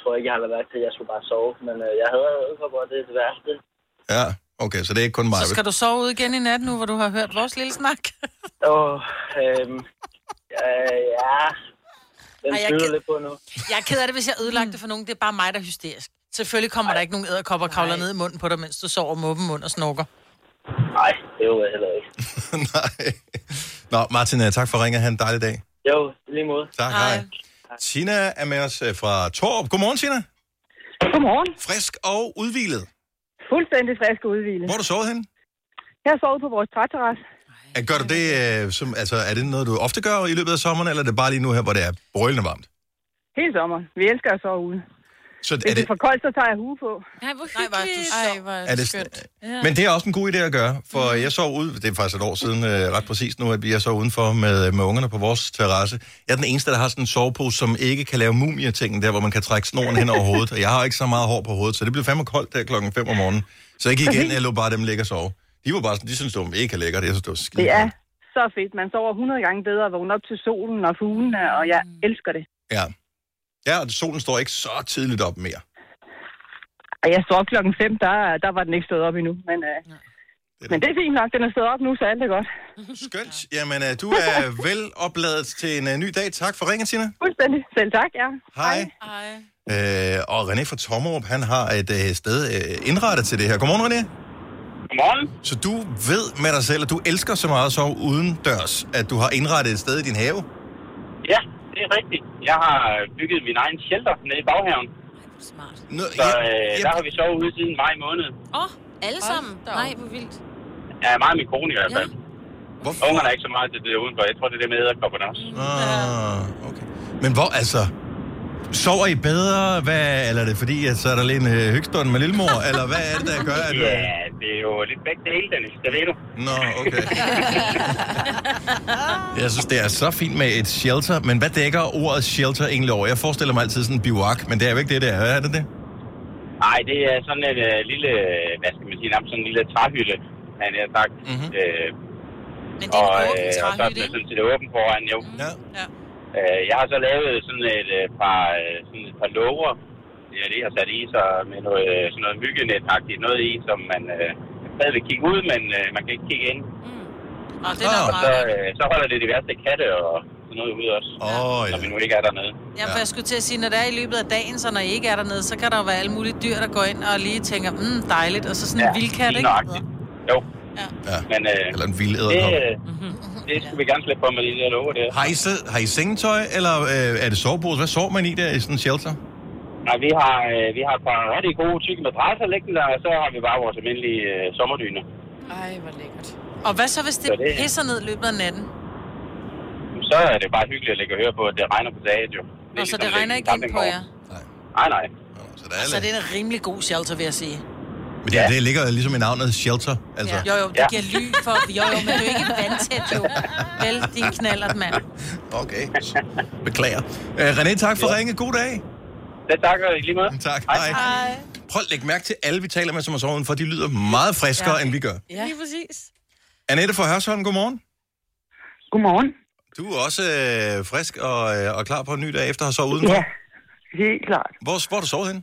Speaker 7: tror jeg ikke, jeg har lagt mærke til. Jeg skulle bare sove. Men øh, jeg havde ødelkopper, og det er det værste.
Speaker 1: Ja, okay, så det er ikke kun mig.
Speaker 3: Så skal du sove ud igen i nat nu, hvor du har hørt vores lille snak.
Speaker 7: Og øhm, øh, ja... Den
Speaker 3: Ej, jeg
Speaker 7: flyder
Speaker 3: kan-
Speaker 7: lidt på nu.
Speaker 3: Jeg er ked af det, hvis jeg ødelagte det for nogen. Det er bare mig, der er hysterisk. Selvfølgelig kommer der ikke nogen æderkopper og kravler ned i munden på dig, mens du sover med åben mund og snorker.
Speaker 7: Nej, det var jeg heller ikke.
Speaker 1: Nej. Nå, Martin, øh, tak for ringet. Ha' en dejlig dag.
Speaker 7: Jo, i lige måde.
Speaker 1: Tak, hej. Tina er med os øh, fra Torp. Godmorgen, Tina.
Speaker 8: Godmorgen.
Speaker 1: Frisk og udvilet.
Speaker 8: Fuldstændig frisk og udvildet.
Speaker 1: Hvor har du sovet henne? Jeg
Speaker 8: har sovet på vores træterrasse.
Speaker 1: Er, gør du det, øh, som, altså, er det noget, du ofte gør i løbet af sommeren, eller er det bare lige nu her, hvor det er brølende varmt?
Speaker 8: Hele sommeren. Vi elsker at sove ude.
Speaker 1: Så
Speaker 8: Hvis
Speaker 1: er
Speaker 8: det
Speaker 1: det,
Speaker 8: er for koldt, så tager jeg hue på.
Speaker 4: Nej, hvor
Speaker 3: Nej, var du
Speaker 4: hyggeligt.
Speaker 2: Ej, hvor
Speaker 1: er det,
Speaker 2: skønt.
Speaker 1: men det er også en god idé at gøre, for jeg sov ud, det er faktisk et år siden, øh, ret præcis nu, at jeg sov udenfor med, øh, med ungerne på vores terrasse. Jeg er den eneste, der har sådan en sovepose, som ikke kan lave mumietingen der, hvor man kan trække snoren hen over hovedet. Og jeg har ikke så meget hår på hovedet, så det blev fandme koldt der klokken 5 om morgenen. Så jeg gik ind, jeg lå bare dem ligge og sove. De var bare sådan, de synes, det var mega lækkert, jeg synes, det var skide
Speaker 8: Det er så fedt. Man sover 100 gange bedre og vågner op til solen og fuglene, og jeg
Speaker 4: Mm.
Speaker 8: elsker det.
Speaker 1: Ja. Ja, og solen står ikke så tidligt op mere.
Speaker 8: Og jeg står op klokken 5, der, der var den ikke stået op endnu. Men, øh, men det er fint nok, den er stået op nu, så alt er godt.
Speaker 1: Skønt. Jamen, øh, du er vel opladet til en øh, ny dag. Tak for ringen, Tina.
Speaker 8: Fuldstændig. Selv tak, ja.
Speaker 1: Hej.
Speaker 2: Ej.
Speaker 1: Øh, og René fra Tommerup, han har et øh, sted øh, indrettet til det her. Godmorgen, René.
Speaker 7: Godmorgen.
Speaker 1: Så du ved med dig selv, at du elsker så meget at sove uden dørs, at du har indrettet et sted i din have.
Speaker 7: Ja, det er rigtigt. Jeg har bygget min egen shelter nede i baghaven. øh,
Speaker 4: Smart.
Speaker 1: Nå,
Speaker 7: vi sovet ude siden maj måned.
Speaker 4: Åh, oh, alle
Speaker 2: Hold
Speaker 4: sammen.
Speaker 2: da op.
Speaker 4: Nej, hvor vildt.
Speaker 7: Ja, meget min kone i hvert
Speaker 4: fald.
Speaker 1: hvorfor?
Speaker 7: Ungerne er ikke så meget til det udenfor. Jeg tror, det er det med æderkopperne også.
Speaker 1: Ah, okay. Men hvor, altså... Sover I bedre? Hvad, eller er det fordi, at så er der lige en øh, hygstund med lillemor? eller hvad er det, der gør, at... øh,
Speaker 7: Ja, det er jo lidt begge dele, Dennis. Det ved du.
Speaker 1: Nå, okay. jeg synes, det er så fint med et shelter, men hvad dækker ordet shelter egentlig over? Jeg forestiller mig altid sådan en biwak, men det er jo ikke det, det er. Er det det?
Speaker 7: Nej, det er sådan en øh, lille, øh, hvad skal man sige, nærmest sådan en lille træhytte, han har sagt.
Speaker 1: Mhm.
Speaker 7: Øh,
Speaker 3: Men det er
Speaker 7: og,
Speaker 3: en
Speaker 7: øh,
Speaker 3: åben
Speaker 7: og så er
Speaker 3: træhytte,
Speaker 7: det
Speaker 3: ikke?
Speaker 7: sådan set åben foran, jo.
Speaker 1: Ja.
Speaker 7: Øh, jeg har så lavet sådan et øh, par, øh, sådan et par låger, ja, det jeg har sat i, så med noget, øh, sådan noget myggenetagtigt noget i, som man øh, stadig vil kigge ud, men øh, man kan ikke kigge ind.
Speaker 3: Og Mm. det er
Speaker 1: Ah.
Speaker 3: der
Speaker 7: Så,
Speaker 3: meget.
Speaker 7: øh, så holder det de værste katte og sådan noget ude også,
Speaker 1: Åh, oh,
Speaker 7: når vi
Speaker 1: ja.
Speaker 7: nu ikke er dernede.
Speaker 3: Ja, for jeg skulle til at sige, når det er i løbet af dagen, så når I ikke er dernede, så kan der jo være alle mulige dyr, der går ind og lige tænker, mm, dejligt, og så sådan en vildkat,
Speaker 7: lige
Speaker 3: ikke?
Speaker 7: nøjagtigt. Jo,
Speaker 1: ja.
Speaker 7: men øh,
Speaker 1: Eller en vild
Speaker 7: det,
Speaker 3: Mhm.
Speaker 1: æderkop.
Speaker 7: øh, det skulle vi gerne slippe på med de der låger der.
Speaker 1: Har I, sed, har I sengetøj, eller øh, er det sovepose? Hvad sover man i der i sådan en shelter?
Speaker 7: Nej, vi har, øh, vi har et par rigtig gode tykke madrasser liggende der, og så har vi bare vores almindelige øh, sommerdyner.
Speaker 2: Ej, hvor lækkert.
Speaker 3: Og hvad så, hvis det
Speaker 7: Ja, det er-
Speaker 3: pisser ned i løbet af natten?
Speaker 7: Så er det bare hyggeligt at ligge og høre på, at det regner på dagen jo. er
Speaker 3: Nå, så
Speaker 7: ligesom
Speaker 3: det
Speaker 7: lidt
Speaker 3: regner
Speaker 7: en
Speaker 3: ikke ind på
Speaker 7: campingvogn.
Speaker 3: jer.
Speaker 7: Nej, nej.
Speaker 1: Nå, Så der er
Speaker 3: Så det er en rimelig god shelter, vil jeg sige.
Speaker 1: Men det, det ligger ligesom i navnet shelter, altså.
Speaker 3: Jo, jo, det
Speaker 7: Ja.
Speaker 3: giver ly for... Jo, jo, men det er jo ikke vandtæt, jo. Vel, din knallert, mand.
Speaker 1: Okay, beklager. Øh, René, tak for ja. ringe. God dag.
Speaker 7: Det takker jeg lige med.
Speaker 1: Tak, hej. hej. Prøv at lægge mærke til alle, vi taler med, som har sovet udenfor. De lyder meget friskere, ja. end vi gør.
Speaker 2: Ja. Lige præcis.
Speaker 1: Annette fra Hørsholm, godmorgen.
Speaker 8: Godmorgen.
Speaker 1: Du er også øh, frisk og, øh, og klar på en ny dag efter at have sovet udenfor.
Speaker 8: Ja,
Speaker 1: Ja.
Speaker 8: helt klart.
Speaker 1: Hvor, hvor har du sovet henne?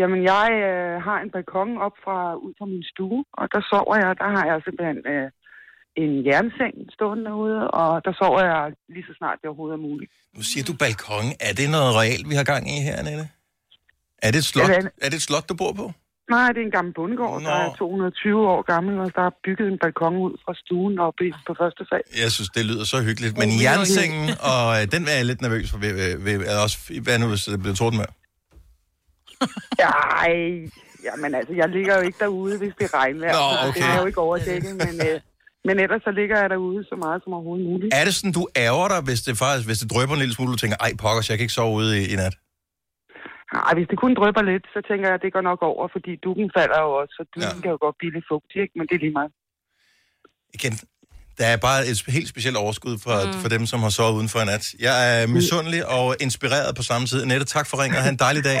Speaker 8: Jamen, jeg øh, har en balkon op fra ud fra min stue, og der sover jeg. Der har jeg simpelthen øh, en jernseng stående derude, og der sover jeg lige så snart det overhovedet er muligt.
Speaker 1: Nu siger du balkon. Er det noget realt, vi har gang i her, Annette? Er det et slot,
Speaker 8: Ja, det er
Speaker 1: er det et slot du bor på?
Speaker 8: Nej, det er en gammel bondegård, der
Speaker 1: Nå.
Speaker 8: er 220 år gammel, og der er bygget en balkon ud fra stuen op i, på første sal.
Speaker 1: Jeg synes, Oh, det lyder så hyggeligt. Men jernsengen, og øh, den er jeg lidt nervøs for. Ved, ved, ved, er også, hvad nu, hvis det bliver torden med?
Speaker 8: Ej, jamen altså, jeg ligger jo ikke derude, hvis det er regnvejr.
Speaker 1: Nå,
Speaker 8: så Det
Speaker 1: okay.
Speaker 8: kan jeg jo ikke overdækket, men, øh, men ellers så ligger jeg derude så meget som overhovedet muligt.
Speaker 1: Er det sådan, du ærger dig, hvis det, faktisk, hvis det drøber en lille smule, du tænker, ej pokkers, jeg kan ikke sove ude i, i nat?
Speaker 8: Nej, hvis det kun drøber lidt, så tænker jeg, at det går nok over, fordi dukken falder jo også, så dukken
Speaker 1: Ja.
Speaker 8: ja. kan jo godt blive lidt fugtig, ikke? men det er lige meget.
Speaker 1: igen, der er bare et helt specielt overskud for, mm. for dem, som har sovet uden for en nat. Jeg er misundelig og inspireret på samme tid. Nette, tak for ringen, og have en dejlig dag.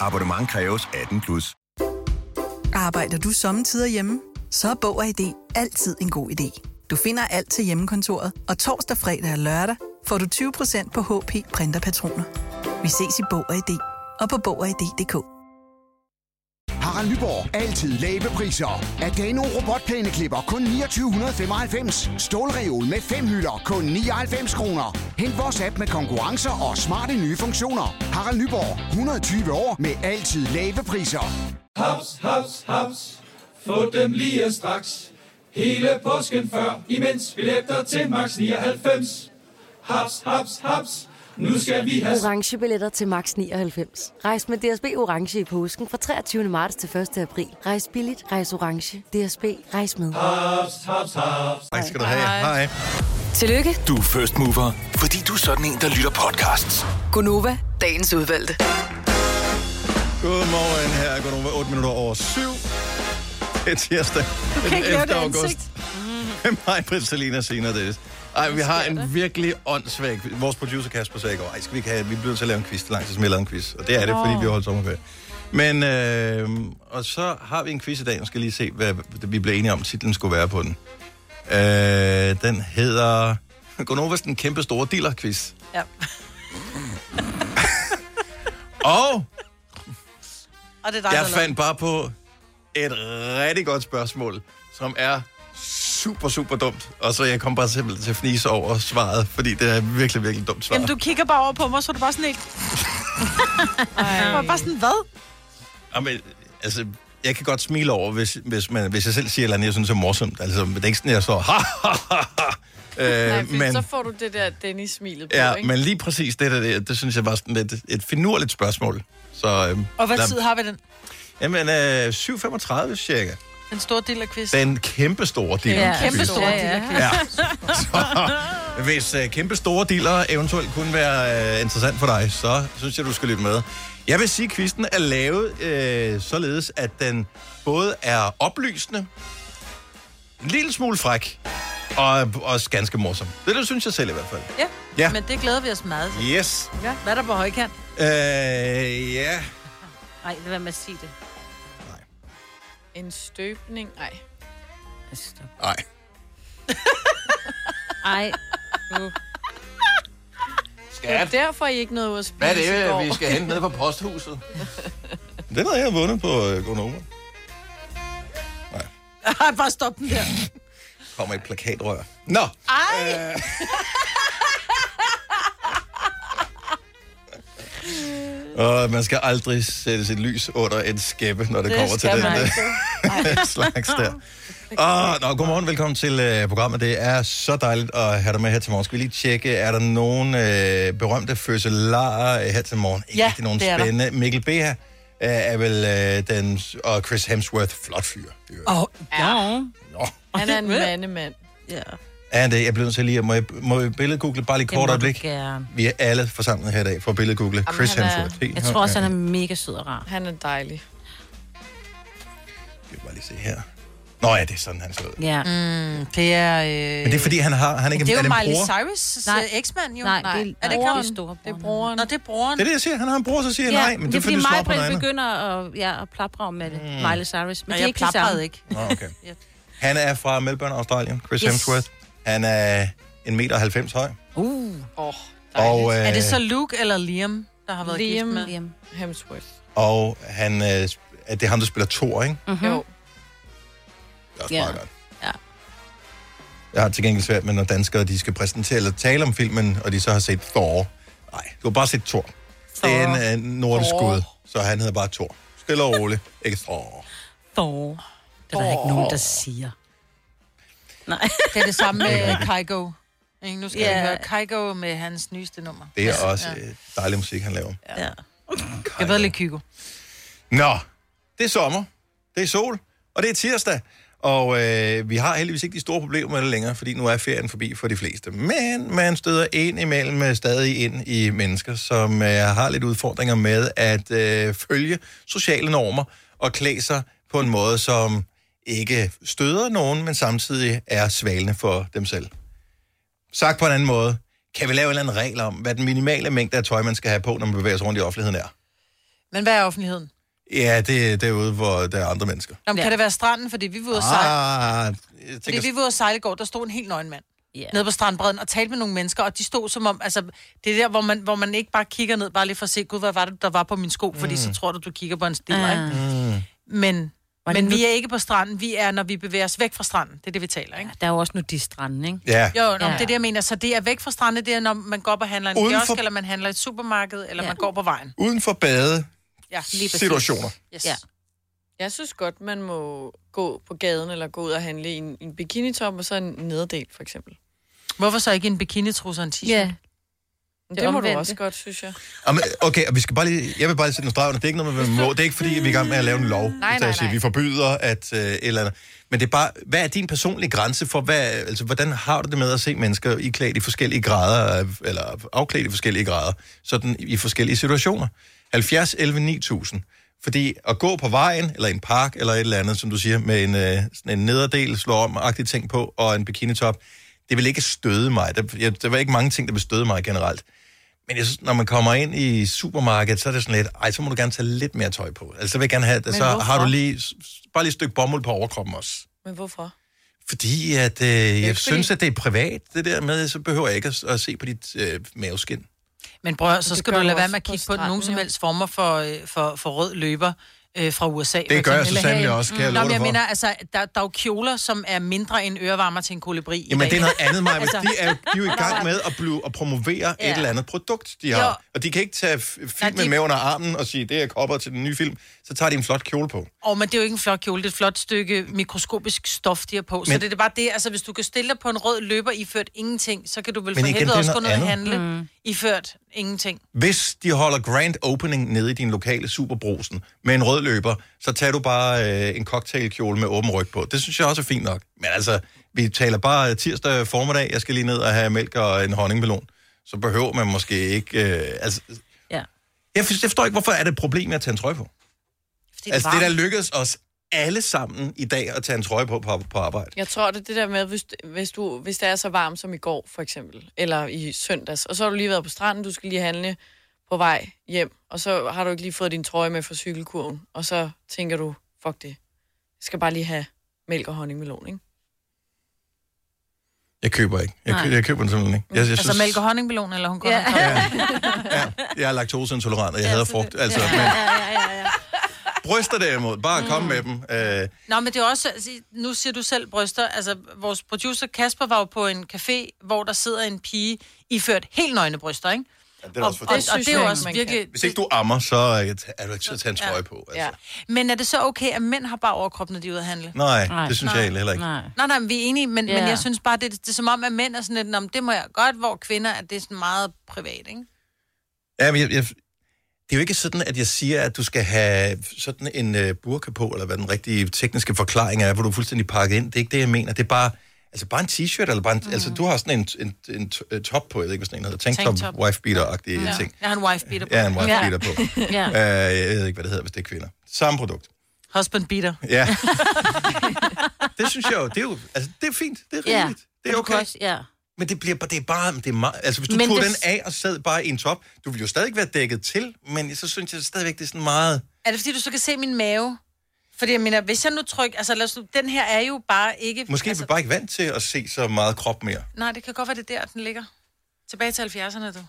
Speaker 6: Abonnement kræves 18 plus.
Speaker 9: Arbejder du sommetider hjemme? Så er Bog og ID altid en god idé. Du finder alt til hjemmekontoret, og torsdag, fredag og lørdag får du 20% på HP Printerpatroner. Vi ses i Bog og ID og på Bog og ID.dk.
Speaker 10: Harald Nyborg. Altid lave priser. Adano robotplæneklipper kun 2995. Stålreol med fem hylder kun 99 kroner. Hent vores app med konkurrencer og smarte nye funktioner. Harald Nyborg. 120 år med altid lave priser.
Speaker 11: Haps, haps, haps. Få dem lige straks. Hele påsken før, imens billetter til max 99. Haps, haps, haps. Nu skal vi have
Speaker 12: Orange billetter til max 99. Rejs med DSB Orange i påsken fra 23. marts til 1. april. Rejs billigt, rejs orange. DSB, rejs med.
Speaker 11: Ah. haps, haps, haps.
Speaker 1: Tak skal du have. Hej.
Speaker 5: Tillykke,
Speaker 6: Du er first mover, fordi du er sådan en, der lytter podcasts.
Speaker 5: Gunova, dagens udvalgte.
Speaker 1: Godmorgen her. er Godmorgen 8 minutter over 7. Det er tirsdag. Du
Speaker 3: kan ikke lave det ansigt.
Speaker 1: Med Mm. mig, Britt Salina, senere det. Ej, vi har en virkelig åndssvag quiz. Vores producer Kasper sagde i går, ej, skal vi ikke have, vi bliver nødt til at lave en quiz, det er lang tid, som jeg lavede en quiz. Og det er det, fordi vi har holdt sommerferie. Men, øh, og så har vi en quiz i dag, nu skal jeg lige se, hvad vi blev enige om, titlen skulle være på den. Øh, den hedder... Gonovas den kæmpe store dealer-quiz.
Speaker 3: Ja.
Speaker 1: Og
Speaker 3: Og det er dig,
Speaker 1: jeg
Speaker 3: der har
Speaker 1: fandt bare på et rigtig godt spørgsmål, som er super, super dumt. Og så jeg kom bare simpelthen til at fnise over svaret, fordi det er et virkelig, virkelig dumt svar.
Speaker 3: lavet- Jamen, du kigger bare over på mig, så er du bare sådan helt... Ej. Bare sådan, hvad?
Speaker 1: Jamen, altså, jeg kan godt smile over, hvis, hvis, man, hvis jeg selv siger et eller andet, jeg synes er morsomt. Altså, det er ikke sådan, jeg så... Ha, ha, ha, ha. Øh,
Speaker 2: Nej, men... så får du det der Dennis-smilet på,
Speaker 1: ja,
Speaker 2: ikke?
Speaker 1: men lige præcis det der, det, det synes jeg var sådan et, et finurligt spørgsmål. Så, øhm,
Speaker 3: Og hvad
Speaker 1: der-
Speaker 3: tid har vi den?
Speaker 1: Jamen, øh, 7.35 cirka.
Speaker 3: Den store del af quiz.
Speaker 1: Den kæmpe store del.
Speaker 4: Ja.
Speaker 3: Kæmpe store
Speaker 4: Ja, ja.
Speaker 3: del af quiz.
Speaker 1: Ja. Så, hvis øh, kæmpe store dealer eventuelt kunne være øh, interessant for dig, så synes jeg, du skal lytte med. Jeg vil sige, at quizzen er lavet øh, således, at den både er oplysende, en lille smule fræk, og også ganske morsom. Det, det synes jeg selv i hvert fald.
Speaker 3: Ja.
Speaker 1: Ja.
Speaker 3: ja. Men det glæder vi os meget til.
Speaker 1: Yes.
Speaker 3: Ja. Hvad er der på højkant?
Speaker 1: Øh, ja.
Speaker 4: Nej, lad være med at sige det.
Speaker 2: En støbning? Nej.
Speaker 4: Altså, stop.
Speaker 1: Nej.
Speaker 4: Ej. Nu.
Speaker 2: Det er derfor, I ikke nåede ud at spise
Speaker 1: Hvad er
Speaker 2: i går.
Speaker 1: det, øh, vi skal hente nede på posthuset? Den har jeg vundet på øh, Gonova.
Speaker 3: Ej, bare stop den der.
Speaker 1: Kommer et plakatrør. Nå,
Speaker 3: Ej!
Speaker 1: og Øh, man skal aldrig sætte sit lys under en skæppe, når det,
Speaker 13: Det
Speaker 1: kommer til
Speaker 13: skal
Speaker 1: den
Speaker 13: man
Speaker 1: øh, slags der. Og, nå, godmorgen, velkommen til øh, programmet. Det er så dejligt at have dig med her til morgen. Skal vi lige tjekke, er der nogen øh, berømte fødselarer øh, her til morgen? Ikke
Speaker 3: Ja,
Speaker 1: rigtig nogen
Speaker 3: det er der.
Speaker 1: spændende. Mikkel Beha øh, er vel øh, den, og Chris Hemsworth, flot fyr.
Speaker 3: Åh, ja.
Speaker 2: Han er en mandemand.
Speaker 4: Ja.
Speaker 1: Er det? Jeg bliver nødt til lige, at- må jeg, må jeg billedgoogle bare lige kort øjeblik?
Speaker 4: gerne.
Speaker 1: Vi er alle forsamlet her i dag for at billedgoogle Chris
Speaker 4: han er-
Speaker 1: Hemsworth. Helt
Speaker 4: Jeg
Speaker 1: her.
Speaker 4: tror også,
Speaker 1: Ja.
Speaker 4: han er mega sød og rar.
Speaker 2: Han er dejlig.
Speaker 1: Skal vi bare lige se her. Nå ja, det er sådan, han ser ud.
Speaker 4: Ja.
Speaker 3: Mm, det er... Øh...
Speaker 1: Men det er fordi, han har... Han er ikke
Speaker 3: det er
Speaker 1: en
Speaker 3: jo Miley
Speaker 1: bror?
Speaker 3: Cyrus'
Speaker 4: Nej.
Speaker 3: øh, eksmand, jo.
Speaker 4: Nej, det er-
Speaker 3: er det
Speaker 4: nej,
Speaker 3: ikke
Speaker 4: det
Speaker 3: ham?
Speaker 4: er storebror.
Speaker 3: Det er broren. Nå, det er broren.
Speaker 1: Det er det, jeg siger. Han har en bror, så siger jeg nej. Men
Speaker 4: det er fordi
Speaker 1: du slår
Speaker 4: mig
Speaker 1: op på noget andet.
Speaker 4: begynder at, ja, at plapre om med det.
Speaker 1: Mm.
Speaker 4: Miley Cyrus. Men
Speaker 3: Og
Speaker 4: det er
Speaker 3: jeg
Speaker 4: ikke det
Speaker 3: plaprede
Speaker 4: samme.
Speaker 3: ikke.
Speaker 1: Nå, okay. Han er fra Melbourne, Australien. Chris
Speaker 4: Yes.
Speaker 1: Hemsworth. Han er en meter 90 høj.
Speaker 4: Uh.
Speaker 2: Oh,
Speaker 1: Og, øh,
Speaker 3: er det så Luke eller Liam, der har været
Speaker 2: Liam.
Speaker 3: gift med?
Speaker 4: Liam
Speaker 2: Hemsworth.
Speaker 1: Og han, øh, er det er ham, der spiller Thor, ikke?
Speaker 2: Mm-hmm. Jo.
Speaker 1: Det er også
Speaker 2: Ja.
Speaker 1: meget godt.
Speaker 4: Ja.
Speaker 1: Jeg har til gengæld svært med, når danskere de skal præsentere eller tale om filmen, og de så har set Thor. Nej, du har bare set Thor. Thor. Det er en uh, nordisk
Speaker 4: Thor.
Speaker 1: gud, så han hedder bare Thor. Stille og roligt. Ikke Thor.
Speaker 4: Thor. Det er der ikke nogen, der siger. Nej.
Speaker 3: Det er det samme med øh, Kygo. Ikke? Nu skal
Speaker 4: Ja.
Speaker 3: yeah. vi høre Kygo med hans nyeste nummer.
Speaker 1: Det er også øh, dejlig musik, han laver.
Speaker 3: Ja. Jeg ved lidt Kygo.
Speaker 1: Nå, det er sommer, det er sol, og det er tirsdag. Og øh, vi har heldigvis ikke de store problemer med det længere, fordi nu er ferien forbi for de fleste. Men man støder ind imellem øh, stadig ind i mennesker, som øh, har lidt udfordringer med at øh, følge sociale normer og klæde sig på en måde, som ikke støder nogen, men samtidig er svalende for dem selv. Sagt på en anden måde, kan vi lave en eller anden regel om, hvad den minimale mængde af tøj, man skal have på, når man bevæger sig rundt i offentligheden er?
Speaker 3: Men hvad er offentligheden?
Speaker 1: Ja, det er derude, hvor der er andre mennesker.
Speaker 3: Nå, men kan det være stranden? Fordi vi var ude at sejle.
Speaker 1: Ah, jeg
Speaker 3: Fordi
Speaker 1: tænker,
Speaker 3: vi var ude at sejle i går, der stod en helt nøgen mand.
Speaker 4: Yeah.
Speaker 3: Nede på strandbredden og talte med nogle mennesker, og de stod som om, altså, det er der, hvor man, hvor man ikke bare kigger ned, bare lige for at se, gud, hvad var det, der var på min sko, fordi
Speaker 4: Mm.
Speaker 3: så tror du, du kigger på en stil,
Speaker 4: Ah.
Speaker 3: ikke?
Speaker 4: Mm.
Speaker 3: Men, men
Speaker 4: Hvordan nu-
Speaker 3: vi er ikke på stranden, vi er, når vi bevæger os væk fra stranden, det er det, vi taler, ikke?
Speaker 4: Der er jo også nudiststranden, ikke?
Speaker 1: Ja.
Speaker 3: Jo, nå, men det er det, jeg mener. Så det er væk fra stranden, det er, når man går op og handler i en
Speaker 1: Uden for-
Speaker 3: kiosk, eller man handler i et supermarked, eller man går på vejen.
Speaker 1: uden for bade.
Speaker 3: Ja,
Speaker 1: lige præcis. Situationer.
Speaker 3: Yes. Ja.
Speaker 2: Jeg synes godt, man må gå på gaden eller gå ud og handle i en, en bikinitop og så en nederdel, for eksempel.
Speaker 3: Hvorfor så ikke en bikinitrus og en t-shirt?
Speaker 4: Ja.
Speaker 2: Det, det må du også godt, synes jeg.
Speaker 1: Jamen, Okay, og vi skal bare lige, jeg vil bare lige sætte en streg under. Det er ikke noget, man må. Det er ikke, fordi vi er i gang med at lave en lov.
Speaker 2: Nej,
Speaker 1: hvis
Speaker 2: nej,
Speaker 1: jeg siger,
Speaker 2: nej.
Speaker 1: Vi forbyder at øh, et eller andet. Men det er bare, hvad er din personlige grænse for, hvad, altså, hvordan har du det med at se mennesker i klædt i forskellige grader, øh, eller afklædt i forskellige grader, sådan i forskellige situationer? 70, 11, 9000. Fordi at gå på vejen, eller i en park, eller et eller andet, som du siger, med en, øh, sådan en nederdel, slå om, agtig ting på, og en bikinitop, det vil ikke støde mig. Der, jeg, der var ikke mange ting, der vil støde mig generelt. Men jeg synes, når man kommer ind i supermarkedet, så er det sådan lidt, ej, så må du gerne tage lidt mere tøj på. Altså, så vil jeg gerne have,
Speaker 2: Men
Speaker 1: så har
Speaker 2: hvorfor?
Speaker 1: du lige, s- s- bare lige et stykke bomuld på overkroppen også.
Speaker 2: Men hvorfor?
Speaker 1: Fordi at, øh, jeg
Speaker 2: fordi-
Speaker 1: synes, at det er privat, det der med, så behøver jeg ikke at, at se på dit øh, maveskin.
Speaker 3: Men prøv at høre, så
Speaker 1: Det
Speaker 3: skal
Speaker 1: gør
Speaker 3: du lade
Speaker 1: du
Speaker 3: være
Speaker 1: også
Speaker 3: med at
Speaker 1: på
Speaker 3: kigge på,
Speaker 1: stranden,
Speaker 3: nogen som helst former for, øh, for, for rød løber øh, fra USA. for
Speaker 1: gør jeg
Speaker 3: eksempel.
Speaker 1: så
Speaker 3: Eller
Speaker 1: sandelig
Speaker 3: herhjemme.
Speaker 1: også, kan jeg
Speaker 3: Nå, men
Speaker 1: love dig
Speaker 3: jeg
Speaker 1: for.
Speaker 3: mener, altså, der, der er jo kjoler, som er mindre end ørevarmer til en kolibri i
Speaker 1: Jamen,
Speaker 3: dag.
Speaker 1: det er noget andet, Maja.
Speaker 3: Altså-
Speaker 1: altså... de, er, jo- de er jo i gang med at, blive, at promovere ja. et eller andet produkt, de har.
Speaker 3: Jo.
Speaker 1: Og de kan ikke tage f- filmen
Speaker 3: de-
Speaker 1: med under armen og sige, det er kopper til den nye film. Så tager de en flot kjole på.
Speaker 3: Og men det er jo ikke en flot kjole, det er et flot stykke mikroskopisk stof, de har på. Men, så
Speaker 1: Men-
Speaker 3: det er bare det, altså hvis du kan stille dig på en rød løber iført ingenting, så kan du vel
Speaker 1: Men
Speaker 3: for
Speaker 1: igen,
Speaker 3: helvede
Speaker 1: det er
Speaker 3: også gå
Speaker 1: noget
Speaker 3: ned og
Speaker 1: andet.
Speaker 3: handle mm. iført ingenting.
Speaker 1: Hvis de holder grand opening nede i din lokale superbrosen med en rød løber, så tager du bare øh, en cocktailkjole med åben ryg på. Det synes jeg også er fint nok. Men altså, vi taler bare tirsdag formiddag, jeg skal lige ned og have mælk og en honningmelon. Så behøver man måske ikke... Øh, altså,
Speaker 4: Ja.
Speaker 1: jeg, for- jeg forstår ikke, hvorfor er det et problem med at tage en trøje på?
Speaker 3: Fordi
Speaker 1: Det altså, det der lykkedes os alle sammen i dag at tage en trøje på på, på arbejde.
Speaker 2: Jeg tror, det er det der med, hvis, hvis, du, hvis det er så varmt som i går, for eksempel, eller i søndags, og så har du lige været på stranden, du skal lige handle på vej hjem, og så har du ikke lige fået din trøje med fra cykelkurven, og så tænker du, fuck det, jeg skal bare lige have mælk og honningmelon, ikke?
Speaker 1: Jeg køber ikke. Jeg, kø-
Speaker 3: Nej.
Speaker 1: jeg køber den simpelthen ikke. Jeg, jeg,
Speaker 3: altså mælk og honningbelon, eller hun går ja.
Speaker 1: jeg er laktoseintolerant, og jeg hader frugt. Altså, ja. men bryster derimod, bare kom med dem. Øh,
Speaker 3: Nå, men det er også, altså, nu siger du selv bryster, altså vores producer Kasper var jo på en café, hvor der sidder en pige iført helt nøgne bryster, ikke?
Speaker 1: det er
Speaker 3: og,
Speaker 1: også for
Speaker 3: og, og det er jo også virkelig...
Speaker 1: Hvis ikke du ammer, så øh, er du ikke til at tage en trøje på. Altså.
Speaker 3: Ja. Men er det så okay, at mænd har bare overkrop, når de er ude at handle?
Speaker 1: Nej, Nej. det synes jeg egentlig heller ikke.
Speaker 3: Nej, nej, nej men vi er enige, men,
Speaker 1: Ja.
Speaker 3: men jeg synes bare, det, det, er som om, at mænd er sådan lidt, "Nå, men det må jeg godt, hvor kvinder, at det er sådan meget privat, ikke?
Speaker 1: Ja, men jeg, jeg, det er jo ikke sådan, at jeg siger, at du skal have sådan en uh, burka på, eller hvad den rigtige tekniske forklaring er, hvor du er fuldstændig pakket ind. Det er ikke det, jeg mener. Det er bare, altså bare en t-shirt, eller bare en, mm. altså du har sådan en, en, en, t- øh, top på, jeg ved ikke, hvad sådan en hedder, tanktop,
Speaker 3: Tanktop.
Speaker 1: wife beater-agtig
Speaker 3: Ja.
Speaker 1: ting.
Speaker 3: Jeg har en wife beater på.
Speaker 1: Ja, en wife beater på.
Speaker 3: ja.
Speaker 1: Uh, jeg ved ikke, hvad det hedder, hvis det er kvinder. Samme produkt.
Speaker 3: Husband beater.
Speaker 1: Ja. det synes jeg jo, det er jo, altså det er fint, det er rimeligt. Det er okay.
Speaker 4: ja.
Speaker 1: Men det bliver bare- det er bare, det er meget, altså hvis du
Speaker 4: Men
Speaker 1: tog
Speaker 4: det-
Speaker 1: den af og sad bare i en top, du ville jo stadig være dækket til, men så synes jeg stadigvæk, det er sådan meget,
Speaker 3: Er det, fordi du så kan se min mave? Fordi jeg mener, hvis jeg nu trykker... Altså, lad os, nu- den her er jo bare ikke...
Speaker 1: måske er vi
Speaker 3: altså,
Speaker 1: bare ikke vant til at se så meget krop mere.
Speaker 3: Nej, det kan godt være, det er der, den ligger. Tilbage til 70'erne, du.